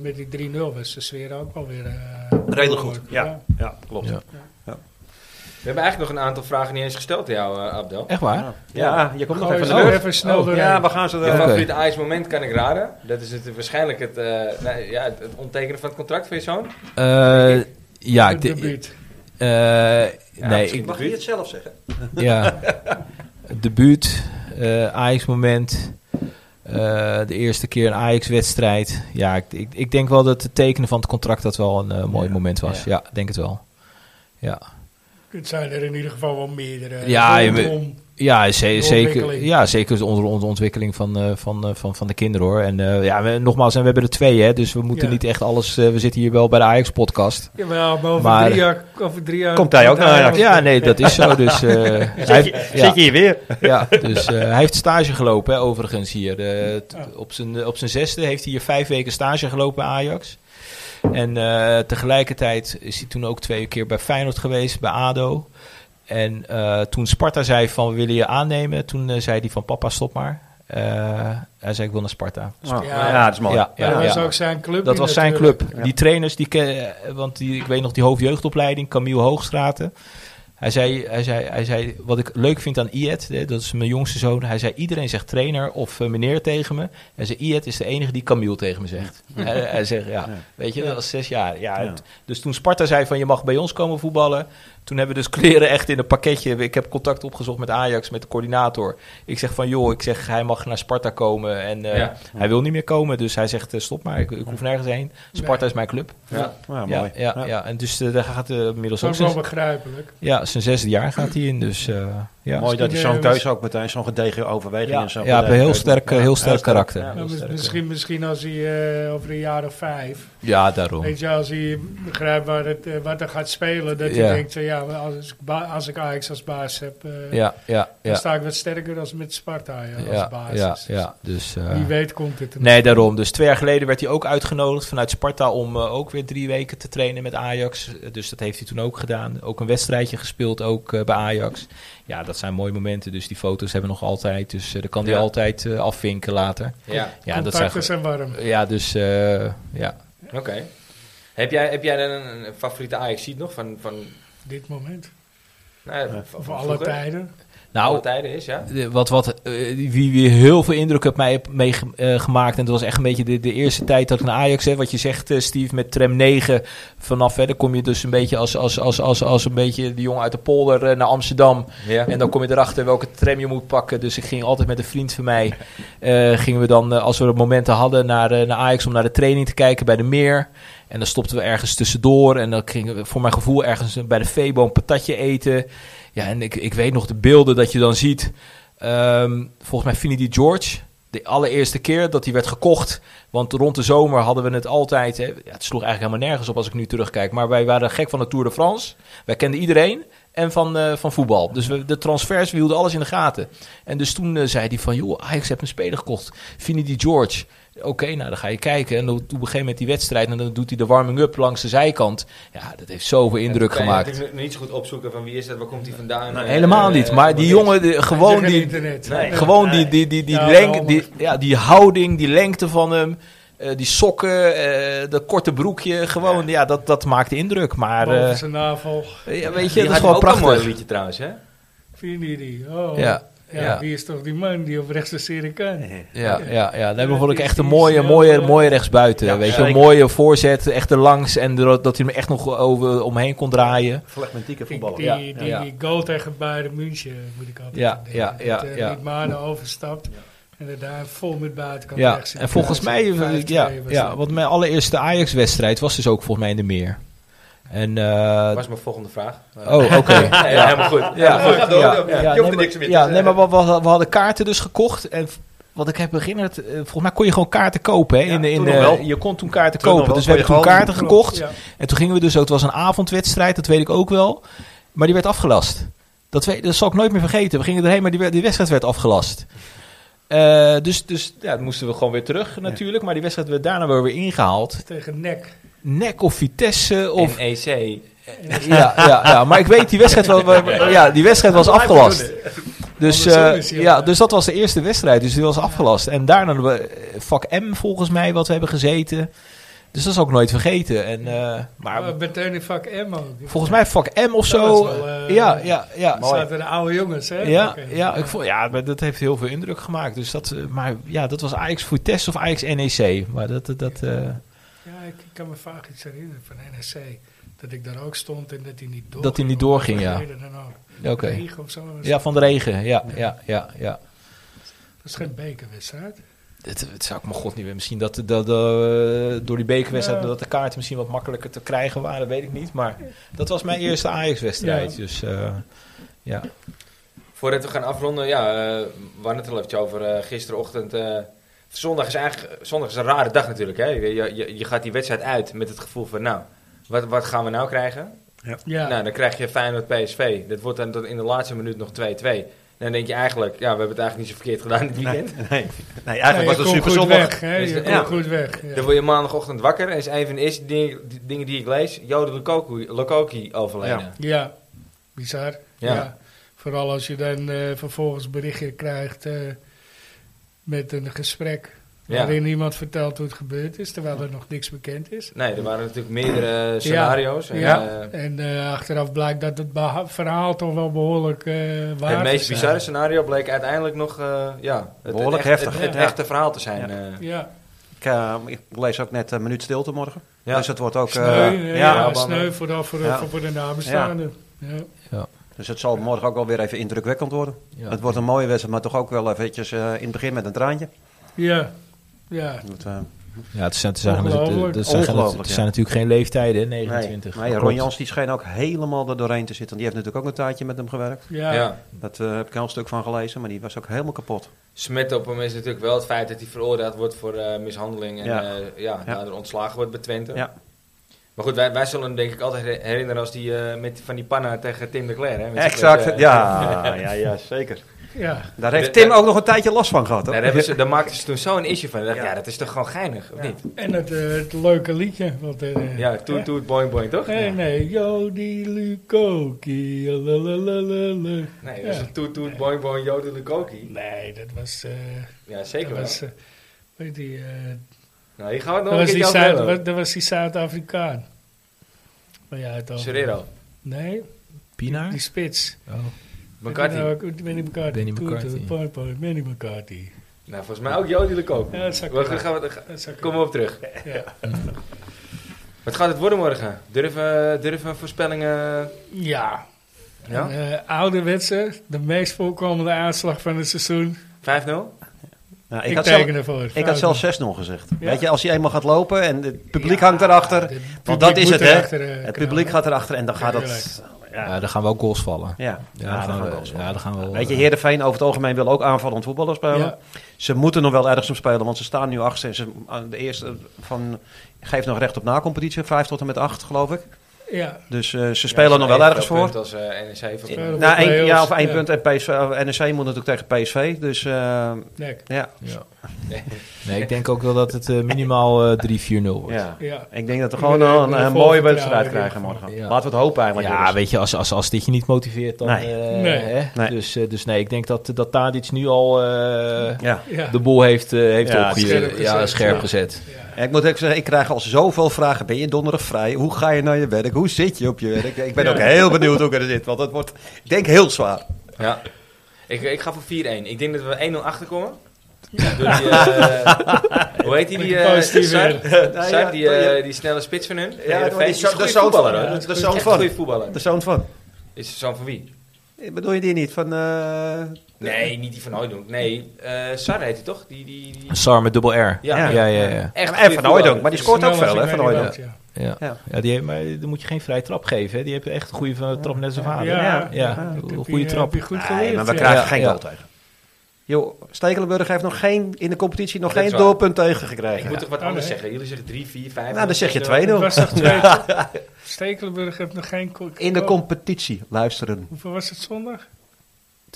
met die 3-0 was de sfeer ook wel weer... eh, Redelijk goed, ja. Ja. ja, klopt. Ja. Ja. We hebben eigenlijk nog een aantal vragen niet eens gesteld aan jou, eh, Abdel. Echt waar? Ja, je komt nog Gooi even ze naar er beurt. Oh, even snel doorheen. Ja, we gaan ze Je er... Oké. favoriete Ajax-moment kan ik raden. Dat is het, waarschijnlijk het, eh, nou, ja, het, het ontekenen van het contract voor je zoon. Eh, ja, De ik denk- debuut. eh, nee, misschien ik, Mag je het zelf zeggen? ja. Het Debuut, eh Ajax-moment. eh, de eerste keer een Ajax-wedstrijd. Ja, ik, ik, ik denk wel dat het tekenen van het contract dat wel een eh, mooi moment was. Ja, denk het wel. Ja, Het zijn er in ieder geval wel meerdere. Ja, je Rondom. ja, ze- zeker, ontwikkeling. ja zeker onder, onder ontwikkeling van, eh, van, eh, van, van de kinderen hoor. En eh, ja, we- nogmaals, en we hebben er twee hè. Dus we moeten Ja. niet echt alles... eh, we zitten hier wel bij de Ajax-podcast. Jawel, maar over, Maar- drie jaar, over drie jaar... Komt hij ook naar Ajax? Ja, nee, dat is zo. Dus, eh, hij- Zit je, ja. zit je hier weer? Ja, dus eh, hij heeft stage gelopen, hè, overigens hier. Eh, t- op, zijn, op zijn zesde heeft hij hier vijf weken stage gelopen bij Ajax. En eh, tegelijkertijd is hij toen ook twee keer bij Feyenoord geweest, bij ADO. En eh, toen Sparta zei van, we willen je aannemen? Toen eh, zei hij van, papa, stop maar. Eh, hij zei, ik wil naar Sparta. ja. ja, dat is mooi. Ja, Ja, ja, dat was ja. ook zijn club. Dat was zijn natuurlijk. club. Die trainers, die ken, eh, want die, ik weet nog die hoofdjeugdopleiding, Camille Hoogstraten. Hij zei, hij, zei, hij zei, wat ik leuk vind aan Iet, hè, dat is mijn jongste zoon. Hij zei, iedereen zegt trainer of eh, meneer tegen me. Hij zei, Iet is de enige die Camille tegen me zegt. hij, hij zegt, ja, weet je, dat was zes jaar. Ja, Ja. t- Dus toen Sparta zei van, je mag bij ons komen voetballen. Toen hebben we dus kleren echt in een pakketje. Ik heb contact opgezocht met Ajax, met de coördinator. Ik zeg van, joh, ik zeg, hij mag naar Sparta komen. En eh, Ja. hij wil niet meer komen, dus hij zegt: eh, stop maar, ik, ik hoef nergens heen. Sparta is mijn club. Ja. Ja, ja, mooi. Ja, ja. en dus eh, daar gaat eh Dat inmiddels is ook ook wel zijn, begrijpelijk. ja, zijn zesde jaar gaat hij in. Dus eh, ja, Mooi dat hij Misschien, zo'n eh, thuis ook meteen zo'n gedegen overweging ja, en zo. ja, gedegen heel keuze. sterk, eh, Ja, heel sterk karakter. ja. Heel Nou, mis- sterk, eh. misschien, misschien als hij eh, over een jaar of vijf... Ja, daarom. Weet je, als hij begrijpt waar het, eh, wat er gaat spelen... dat Ja. hij denkt, eh, ja, als ik, ba- als ik Ajax als baas heb... eh, Ja, ja, dan ja. sta ik wat sterker dan met Sparta ja, als Ja, basis. ja, ja. Dus, eh, Wie weet komt het er nog. Nee, daarom. Dus twee jaar geleden werd hij ook uitgenodigd vanuit Sparta om eh, ook weer drie weken te trainen met Ajax. Eh, Dus dat heeft hij toen ook gedaan. Ook een wedstrijdje gespeeld ook eh, bij Ajax. Ja, dat zijn mooie momenten. Dus die foto's hebben we nog altijd. Dus eh, dat kan hij Ja. altijd eh, afvinken later. Ja, Ja, dat zijn Contacten zijn warm. ge- Ja, dus eh, ja. oké. Heb, jij, heb jij dan een, een favoriete Ajax-sheet nog? Van, van, Dit moment. nou, ja, van Of alle vroeger? tijden. Alle Nou, tijden is, ja. de- wat, wat, eh, die- wie, wie heel veel indruk op mij heeft meegemaakt. En dat was echt een beetje de, de eerste tijd dat ik naar Ajax hè, Wat je zegt, eh, Steve, met tram 9 vanaf. Hè, dan kom je dus een beetje als, als, als, als, als een beetje de jongen uit de polder eh, naar Amsterdam. ja. En dan kom je erachter welke tram je moet pakken. Dus ik ging altijd met een vriend van mij. eh, gingen we dan, eh, als we momenten hadden, naar, eh, naar Ajax om naar de training te kijken bij de meer. En dan stopten we ergens tussendoor. En dan gingen we voor mijn gevoel ergens bij de Febo een patatje eten. Ja, en ik, ik weet nog de beelden dat je dan ziet. Ehm, volgens mij Finity George. De allereerste keer dat hij werd gekocht. Want rond de zomer hadden we het altijd. Hè, ja, het sloeg eigenlijk helemaal nergens op als ik nu terugkijk. Maar wij waren gek van de Tour de France. Wij kenden iedereen. En van, eh, van voetbal. Dus we, de transfers, we hielden alles in de gaten. En dus toen eh, zei hij van... joh, Ajax heeft een speler gekocht. Finity George. Oké, nou dan ga je kijken. En dan op een gegeven moment die wedstrijd... en dan doet hij de warming-up langs de zijkant. Ja, dat heeft zoveel indruk Kan je gemaakt. natuurlijk niet zo goed opzoeken van wie is dat, waar komt hij vandaan. eh, Helemaal eh, niet. Maar die wat is- jongen, de- gewoon Tegen die... internet. Nee. Ja. Gewoon die, die, die, die, Ja, lenk- wel, die, ja, die houding, die lengte van hem, eh, die sokken, eh, dat korte broekje. Gewoon, ja, dat, dat maakt indruk. Maar eh, Boven zijn navel. ja, weet je, Die dat had is gewoon ook een mooi prachtig. liedje trouwens, hè? Finidi. Oh. Ja, Ja, ja. Wie is toch die man die op rechts de serie kan? Ja, ja, ja. Daar hebben Ja, we vond ik die- echt een die is mooie, heel, mooie, eh, mooie rechtsbuiten. ja, weet je, een zeker. mooie voorzet, echt erlangs. En er- dat hij hem echt nog over, omheen kon draaien. Flegmentieke Ik- voetballer. die, Ja. die, ja. die goal tegen Bayern München moet ik altijd Ja, aan denken. ja, ja, Dat, eh, ja. Liedmanen overstapt en er daar vol met buitenkant Ja, rechts in en volgens plaats. mij, eh, 5-2 ja, was ja, dat. want mijn allereerste Ajax-wedstrijd was dus ook volgens mij in de meer. En eh, Dat was mijn volgende vraag. Oh, oké. Ja, ja, helemaal goed. Ja, Ja, goed. Ga door, ja, door. ja, Je hoeft er nee, maar- niks meer te Ja, nee, zeggen. maar we, we- we hadden kaarten dus gekocht. En v- wat ik heb herinnerd, eh, volgens mij kon je gewoon kaarten kopen. Hè? Ja, in, de- in, toen de- nog wel. Je kon toen kaarten Toen nog kopen. wel, Dus we hebben kon je toen gewoon- kaarten gekocht. Ja. En toen gingen we dus, ook- het was een avondwedstrijd, dat weet ik ook wel. Maar die werd afgelast. Dat, weet, dat zal ik nooit meer vergeten. We gingen erheen, maar die, werd- die wedstrijd werd afgelast. Eh, dus dus ja, dan moesten we gewoon weer terug natuurlijk. Maar die wedstrijd werd daarna wel weer ingehaald. Tegen Nek. Nek of Vitesse of... E NEC. Ja, ja, ja, maar ik weet, die wedstrijd was, wa- wa- ja, die wedstrijd was afgelast. Dus, Andersom eh, is hij al, ja, ja. dus dat was de eerste wedstrijd, dus die was afgelast. En daarna hebben we eh, vak M volgens mij, wat we hebben gezeten. Dus dat is ook nooit vergeten. En, eh, maar Maar meteen in vak M ook. volgens mij vak M of Dat zo. is wel, eh, ja, ja, ja. Het zaten de oude jongens, hè? Ja, Oké. ja, ik vond, ja, maar dat heeft heel veel indruk gemaakt. Dus dat, eh, maar ja, dat was Ajax Vitesse of Ajax NEC. Maar dat, dat, dat, eh, Ja, ik, ik kan me vaak iets herinneren van NSC. Dat ik daar ook stond en dat hij niet door Dat hij niet doorging, ja. oké. Regen of zo. Ja, van de regen. Ja, ja, ja, ja. Dat is geen bekerwedstrijd. Het, het zou ik mijn god niet meer. Misschien dat, dat eh, door die bekerwedstrijd Ja. dat de kaarten misschien wat makkelijker te krijgen waren, weet ik niet. Maar dat was mijn eerste Ajax-wedstrijd. Dus eh, ja. Voordat we gaan afronden, ja, eh, we hadden het er al eventjes over eh, gisterochtend. eh, zondag is eigenlijk zondag is een rare dag natuurlijk. Hè? Je, je, je gaat die wedstrijd uit met het gevoel van, nou, wat, wat gaan we nou krijgen? Ja, Nou, dan krijg je Feyenoord PSV. Dat wordt dan tot in de laatste minuut nog 2-2. Dan denk je eigenlijk, ja, we hebben het eigenlijk niet zo verkeerd gedaan dit weekend. Nee, nee eigenlijk was het super zondag. weg, hè? Dus je de- komt ja. goed weg. ja. Dan word je maandagochtend wakker en is een van de eerste dingen, die- dingen die ik lees, Jode Lukaku, Lukaku overleden. Ja, bizar. Ja. Ja. Vooral als je dan eh, vervolgens berichtje krijgt eh, met een gesprek Ja. waarin iemand vertelt hoe het gebeurd is, terwijl er nog niks bekend is. Nee, er waren natuurlijk meerdere eh, scenario's. En, ja, eh, en eh, achteraf blijkt dat het beha- verhaal toch wel behoorlijk eh waar het meest is. eh, bizarre scenario bleek uiteindelijk nog eh, ja, het, Behoorlijk het echt- heftig, het, het ja. echte verhaal te zijn. eh. Ja, Ik, eh, ik lees ook net een minuut stilte morgen. Ja. Dus het wordt ook... eh, sneu, eh, ja, ja, maar- sneu vooral voor, de- Ja. voor de nabestaanden. Ja. Dus het zal morgen ook wel weer even indrukwekkend worden. Ja. Het wordt een mooie wedstrijd, maar toch ook wel eventjes eh, in het begin met een traantje. Ja. ja, Want, eh, Ja, het zijn, het zijn, Ongelooflijk. het zijn, het zijn, Ongelooflijk, ja. natuurlijk geen leeftijden, hè, nee, 29. nee, Ron Klopt. Jans die scheen ook helemaal er doorheen te zitten. Die heeft natuurlijk ook een taartje met hem gewerkt. ja. ja. Dat eh, heb ik al een stuk van gelezen, maar die was ook helemaal kapot. Smet op hem is natuurlijk wel het feit dat hij veroordeeld wordt voor eh, mishandeling en Ja. eh, ja, daardoor ontslagen wordt bij Twente. Ja. Maar goed, wij, wij zullen hem denk ik altijd her- herinneren als die eh, met van die panna tegen Tim de Cler. Hè, met zijn Exact, kleur, eh. ja, ja, ja, zeker. ja. Daar heeft Tim ook nog een tijdje last van gehad. Daar, Hoor. hebben ze, daar maakten ze toen zo'n issue van. Ik dacht, ja. Ja. dat is toch gewoon geinig, of niet? En het, eh, het leuke liedje. Wat, eh, Ja, toet toet, boing boing, toch? Nee, nee, Jody Lukoki. lalalala. Nee, dat is Ja. een toet toet, boing boing, jodel Lukoki. Nee, dat was. eh Ja, zeker dat wel. was, eh, weet die, eh, Nou, hier gaan we het dat, nog was een die keertje Zuid, over hebben. wa- dat was die Zuid-Afrikaan. Maar ja, het over- Serrero, Nee, Pienaar? die spits. Oh. McCarthy. Nou, ik- Benny McCarthy. Benny Toet, McCarthy. toet, Poi, poi, Benny McCarthy. Nou, volgens mij ook Jody Lukoki. Ja, dat zou We kunnen. gaan, we, Dat zou komen we op terug. kunnen, Ja. Wat gaat het worden morgen? Durven, durven voorspellingen... ja. Ja? En, eh, ouderwetse, de meest voorkomende aanslag van het seizoen. 5-0? Nou, Ik, ik, had zelf, teken ervoor. ik had zelf 6-0 gezegd. Ja. Weet je, als hij eenmaal gaat lopen en het publiek hangt erachter. Want dat is het, hè. eh, Het publiek gaat erachter en dan gaat dat... Ja, daar gaan wel goals vallen. Ja, Ja, ja, daar dan gaan gaan we we, ons ja, daar gaan we wel, Weet je, eh, Heerenveen over het algemeen wil ook aanvallend voetballers spelen. Ja. Ze moeten nog wel ergens op spelen, want ze staan nu achter. En ze, aan de eerste van, geeft nog recht op na-competitie, 5 tot en met 8 geloof ik. Ja, Dus eh, ze spelen nog wel ergens voor. Als eh, NEC van Ja. Na één, ja, play-offs, of één ja. punt. En PSV, NEC moet natuurlijk tegen PSV. Dus eh, nek. ja. Ja. Nee, ik denk ook wel dat het eh, minimaal eh, 3-4-0 wordt. ja. Ja. Ik denk dat we Ik gewoon ben er- een, ik ben er een vol mooie vertrouwen wedstrijd in krijgen ieder morgen. Ja. Laten we het hopen eigenlijk. Ja, jongens. weet je, als, als, als dit je niet motiveert, dan... Nee. eh, Nee. Hè? Nee. Dus, eh, dus nee, ik denk dat, dat Tadic nu al eh, ja. Ja. de boel heeft, eh, heeft Ja, opge- scherp gezet, ja, scherp ja. gezet. Ja, ik moet even zeggen, ik krijg al zoveel vragen. Ben je donderdag vrij? Hoe ga je naar je werk? Hoe zit je op je werk? Ik ben ook heel benieuwd hoe ik er zit. Want het wordt, ik denk, heel zwaar. Ja. Ik, ik ga voor 4-1. Ik denk dat we 1-0 achterkomen. Door die, eh, hoe heet die? die eh, Positief Sar? weer. Sar, ja, die, eh, ja. die snelle spits van hun. Ja, die is zo- een goede de zoon voetballer. van, hoor. ja, Dat de is zoon echt een van. goede voetballer. De zoon van. Is de zoon van wie? Bedoel je die niet? Van, eh, Nee, niet die van Hooydonk. Nee, eh Sar heet hij toch? Die, die, die... Sar met dubbel R. Ja. Ja, ja, ja. ja. Echt en goede Van Hooijdonk, voetballer. maar die scoort ook Sneller veel, hè, als ik Van mij niet Hooijdonk. had, ja. Ja. Ja. Ja, die heeft, maar dan moet je geen vrije trap geven. Hè. Die heeft echt een goede van- trap net zijn vader. Ja, Ja, ja. dat heb Goeie je- trap. heb je goed Nee, geleerd, maar we ja. krijgen Ja, geen ja. goal tegen. Joh, Stekelenburg heeft nog geen, in de competitie nog Dat is geen waar. doelpunt tegen Ik gekregen. moet toch wat Oh, anders nee. zeggen? Jullie zeggen 3, 4, 5. Nou, dan zeg je 2-0. Het was toch twee. Stekelenburg heeft nog geen... ko- In de ko- competitie, luisteren. Hoeveel was het zondag?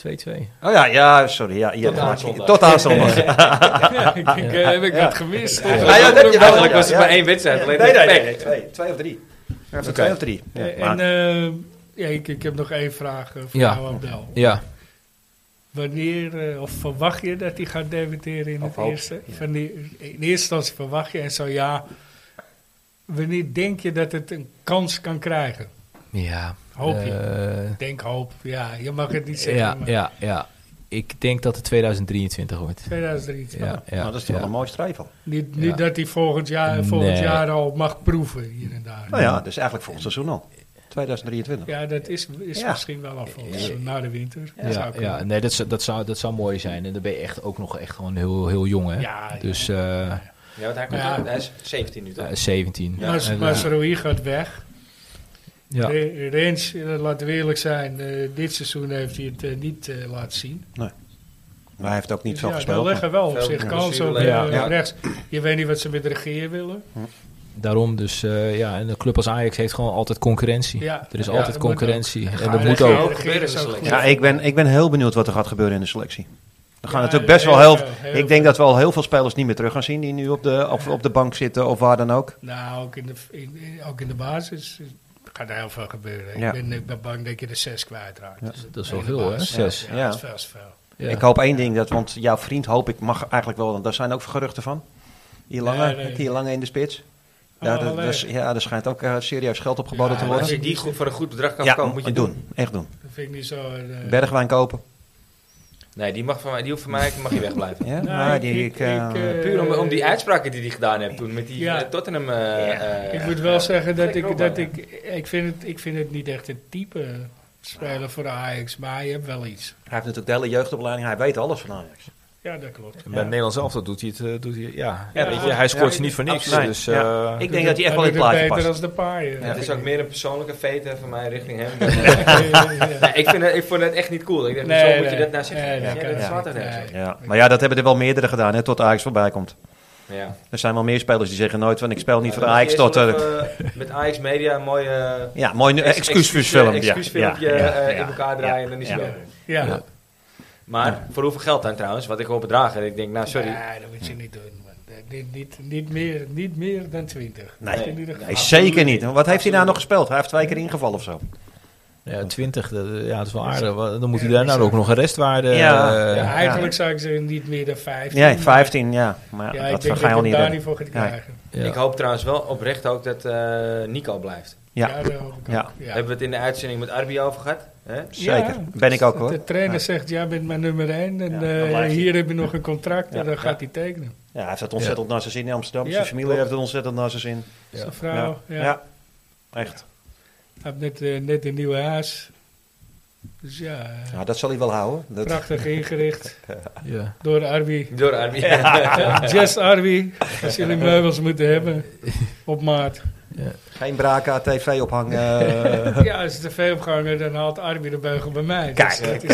2-2. Oh ja, ja, sorry. Ja, ja, Tot aan ja. zondag. Tot aan zondag. ja, ik denk, eh, heb ik dat gemist. Ja, ja, dat heb je wel. Eigenlijk was het Ja. maar één wedstrijd. alleen Nee, dat nee, pek. nee, nee, twee, twee of drie. Ja, Oké. Twee of drie. Ja, Eh, maar- En eh, ja, ik, ik heb nog één vraag eh, voor Ja. jou, Abdel. Ja. Wanneer, eh, of verwacht je dat hij gaat debuteren in Of het hoop, eerste? Wanneer- in eerste instantie verwacht je, en zo ja, wanneer denk je dat het een kans kan krijgen? Ja. Hoop je. eh, Denk hoop, ja, je mag het niet zeggen. ja, maar ja, ja. Ik denk dat het 2023 wordt. 2023. Ja, ja, nou, dat is toch ja. wel een mooi streven. Niet, niet Ja. dat hij volgend jaar, volgend Nee. jaar al mag proeven hier en daar. Nou ja, dat is eigenlijk volgend seizoen al. 2023. Ja, dat is, is Ja. misschien wel al volgens na de winter. Dat Ja, zou kunnen. ja, nee, dat, zou- dat, zou, dat zou mooi zijn. En dan ben je echt ook nog echt gewoon heel, heel jong, hè? Ja, ja. Dus eh, Ja, want hij, komt, Ja. hij is 17 nu toch? eh, 17. Maar als- En, maar eh, als Rui gaat weg. ja. Re- Rens, eh, laten we eerlijk zijn, eh, dit seizoen heeft hij het eh, niet eh, laten zien. Maar hij heeft ook niet Dus zo ja, gespeeld. daar leggen wel op Veel zich kans op blessure eh, leed. Ja. rechts. Je weet niet wat ze met de regeer willen. Daarom dus, eh, ja, en een club als Ajax heeft gewoon altijd concurrentie. Ja. Er is Ja, dat altijd moet concurrentie. ook. en Ja, dat de moet regeer- ook. de regeer is ook goed. Ja, ik ben, ik ben heel benieuwd wat er gaat gebeuren in de selectie. Er gaan Ja, natuurlijk best wel heel heel, veel, heel Ik veel. denk dat we al heel veel spelers niet meer terug gaan zien die nu op de, op, op de bank zitten of waar dan ook. Nou, ook in de, in, in- ook in de basis eh, gaat er heel veel gebeuren. Ja. Ik, ben, ik ben bang dat je de zes kwijtraakt. Dus Dat is wel in de veel, hè? basis. Zes. Ja, Ja. dat is veel, is veel. Ja. Ik hoop één ding, dat, want jouw vriend hoop ik mag eigenlijk wel, want daar zijn ook geruchten van. Die lange, Nee, nee. Die lange in de spits. Oh, Ja, dat, dat is- leuk. ja, daar schijnt ook eh, serieus geld opgeboden Ja, te Maar als worden. je die goed voor een goed bedrag kan Ja, komen, moet je doen. doen. Echt doen. Dat vind ik niet zo... eh, Bergwijn kopen. Nee, die, mag van mij, die hoeft van mij mag je wegblijven. Ja, nou, maar die, ik, eh, eh, Puur om, om die uitspraken die hij gedaan heeft toen met die Ja. eh, Tottenham. eh, eh, Ik moet wel zeggen dat, Gek ik, Robben, dat ja. ik, ik, vind het, ik vind het niet echt een type speler voor de Ajax, maar je hebt wel iets. Hij heeft natuurlijk de hele jeugdopleiding, hij weet alles van Ajax. Ja, dat klopt. Bij Nederland zelf dat doet hij het. eh, Doet hij, ja. Ja, weet je, hij scoort ja, ze niet voor niks. absoluut. Dus, Ja. eh, Ik denk dat hij echt wel in doet het het plaatje beter past. dan de eh. paaien. het is ook meer een persoonlijke vete van mij richting hem. meer... nee, ik, vind het, ik vond het echt niet cool. Ik dacht, Nee, zo nee, moet je dat nou zeggen. nee, nee, ja, kan dat niet. slaat er nergens Nee. op. Ja. Maar ja, dat hebben er wel meerdere gedaan, hè, tot Ajax voorbij komt. Ja. Er zijn wel meer spelers die zeggen nooit van ik speel niet voor Dan Ajax moet tot... je eerst eh, nog, eh, met Ajax Media een mooie... eh, ja, mooi nu- eh, ex- excuusfilm. excuus- ja, excuusfilmpje ja, ja, eh, ja. in elkaar draaien en dan is ja. hij wel. Ja, Maar voor hoeveel geld dan trouwens? Wat ik hoor bedragen. Ik denk, nou sorry. Nee, dat moet je niet doen. man. Niet, niet, niet, meer, niet meer dan 20. Nee. Dat in ieder geval. Nee, zeker niet. Want Wat heeft hij nou nog gespeeld? Hij heeft twee keer ingevallen of zo. ja, 20, dat, eh, ja, dat is wel aardig. Wat- Dan moet hij daar nou ook nog een restwaarde... Ja. eh, Ja, Ja. eigenlijk zou ik zeggen niet meer dan 15. Ja, 15, ja. Maar Ja, ik dat denk ga je al dat ik niet daar redden. niet voor gaat Nee. krijgen. ja. Ik hoop trouwens wel oprecht ook dat eh, Nico blijft. Ja. dat hoop ik ook. Ja. Ja. Hebben we het in de uitzending met Arbi over gehad? Hè? Zeker. Ja, ben ik ook Dat hoor. De trainer zegt, jij bent mijn nummer 1 en Ja, eh, dan blijft hij. hier heb je nog een contract Ja, en dan ja. gaat hij tekenen. Ja, hij heeft het ontzettend naar zijn zin in Amsterdam. Ja, zijn familie klopt. heeft het ontzettend naar zijn zin. Zijn Ja. vrouw, ja. Ja. Echt. Hij heeft net, eh, net een nieuwe huis. Dus ja, eh, Nou, dat zal hij wel houden. Dat, prachtig ingericht ja. door Arby. Door Arbi. Just Arby, als jullie meubels moeten hebben op maat. geen Braka TV ophangen. eh. Ja, als het te veel opgangen, dan haalt Arby de beugel bij mij. Dus Kijk, dat is-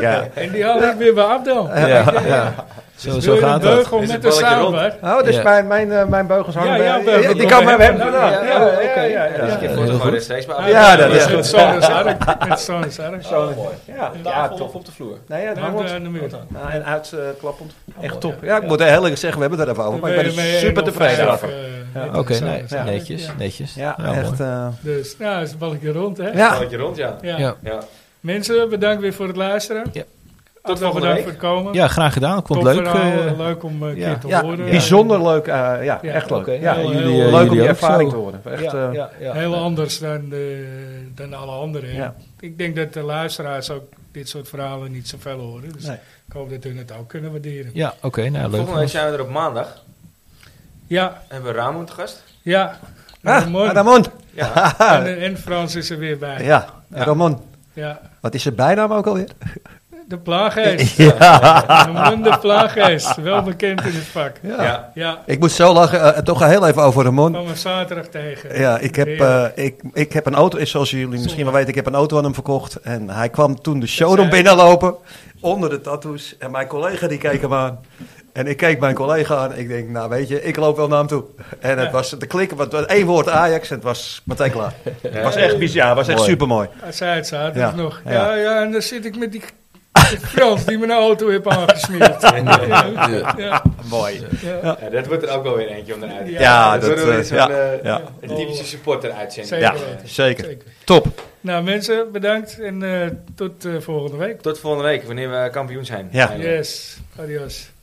ja. En die haal ik weer bij Abdel. Ja, ja. Zo, zo Wil je gaat een dat. Dus beugel Is het met een balletje rond? soundbar? Oh, dus Ja. mijn, mijn, eh, mijn beugels hangen Ja, bij- jouw beugel. Die kan bij hem Ja, vandaan. ja, Ja, ja, oké. ja, ja. Dus ik vond het Heel gewoon goed. rechtstreeks. Maar Ja, dat is is goed. met Sonus Ark. Met Sonus Ark. Ja, ja, Ja, top. op de vloer. Nee, ja, het Daar eh, hangt. aan de muur. Nou, en uitklappend. Echt top. Ja, ik moet heel eerlijk zeggen, we hebben het erover. Maar ik ben Mee- mee er super één of tevreden vijf, over. eh, Ja, met Oké, een nee, Sonus Ark. netjes, Ja. netjes. Ja, mooi. echt. eh, Dus, nou, is het balletje rond, hè? ja, Een rond, ja. Ja. Ja. ja. Mensen, bedankt weer voor het luisteren. Ja. Tot wel volgende bedankt week. voor het komen. Ja, graag gedaan. Ik vond het eh, Top leuk. verhaal, eh, eh, leuk om eh, een ja. keer te ja, horen. bijzonder leuk. eh, ja, Ja, echt leuk. oké. ja, Ja, leuk jullie, eh, om jullie je ook ervaring zo. te horen. Echt, ja, eh, ja, ja. Heel anders dan, eh, dan alle anderen. hè. Ja. Ik denk dat de luisteraars ook dit soort verhalen niet zoveel horen. Dus Nee. ik hoop dat hun het ook kunnen waarderen. Ja, oké, nou leuk. Volgende week zijn we er op maandag. Ja, Hebben we Ramon te gast. ja. Ah, Ramon. Ramon. eh, Ja. En, en Frans is er weer bij. Ja. Ah. Ja, Ramon. Wat is zijn bijnaam ook alweer? De plaaggeest. Ramon de plaaggeest. Wel bekend in het vak. ja. Ja, Ik moest zo lachen. eh, toch heel even over Ramon. kwam er zaterdag tegen. Ja, ik heb, eh, ik, ik heb een auto, zoals jullie misschien wel weten, ik heb een auto aan hem verkocht. En hij kwam toen de showroom zei hij. binnenlopen, onder de tattoos. En mijn collega die keek hem aan. En ik keek mijn collega aan. Ik denk, nou weet je, ik loop wel naar hem toe. En het was de klik, want het was één woord Ajax en het was meteen klaar. Het was echt bizar, het was echt Mooi. supermooi. Hij zei het zaterdag Ja, nog. ja. Ja. ja, en dan zit ik met die, die Frans die mijn auto heeft aangesmeerd. ja, ja, ja, Mooi. Ja, dat wordt er ook wel weer eentje om eruit te Ja, Ja, dat, wordt wel eh, iets van, ja, eh, ja. een typische supporter uitzending. Zeker Ja. weten. Zeker. Oh, Zeker. Top. Nou mensen, bedankt en eh, tot eh, volgende week. Tot volgende week, wanneer we kampioen zijn. Ja. Eindelijk. Yes, adios.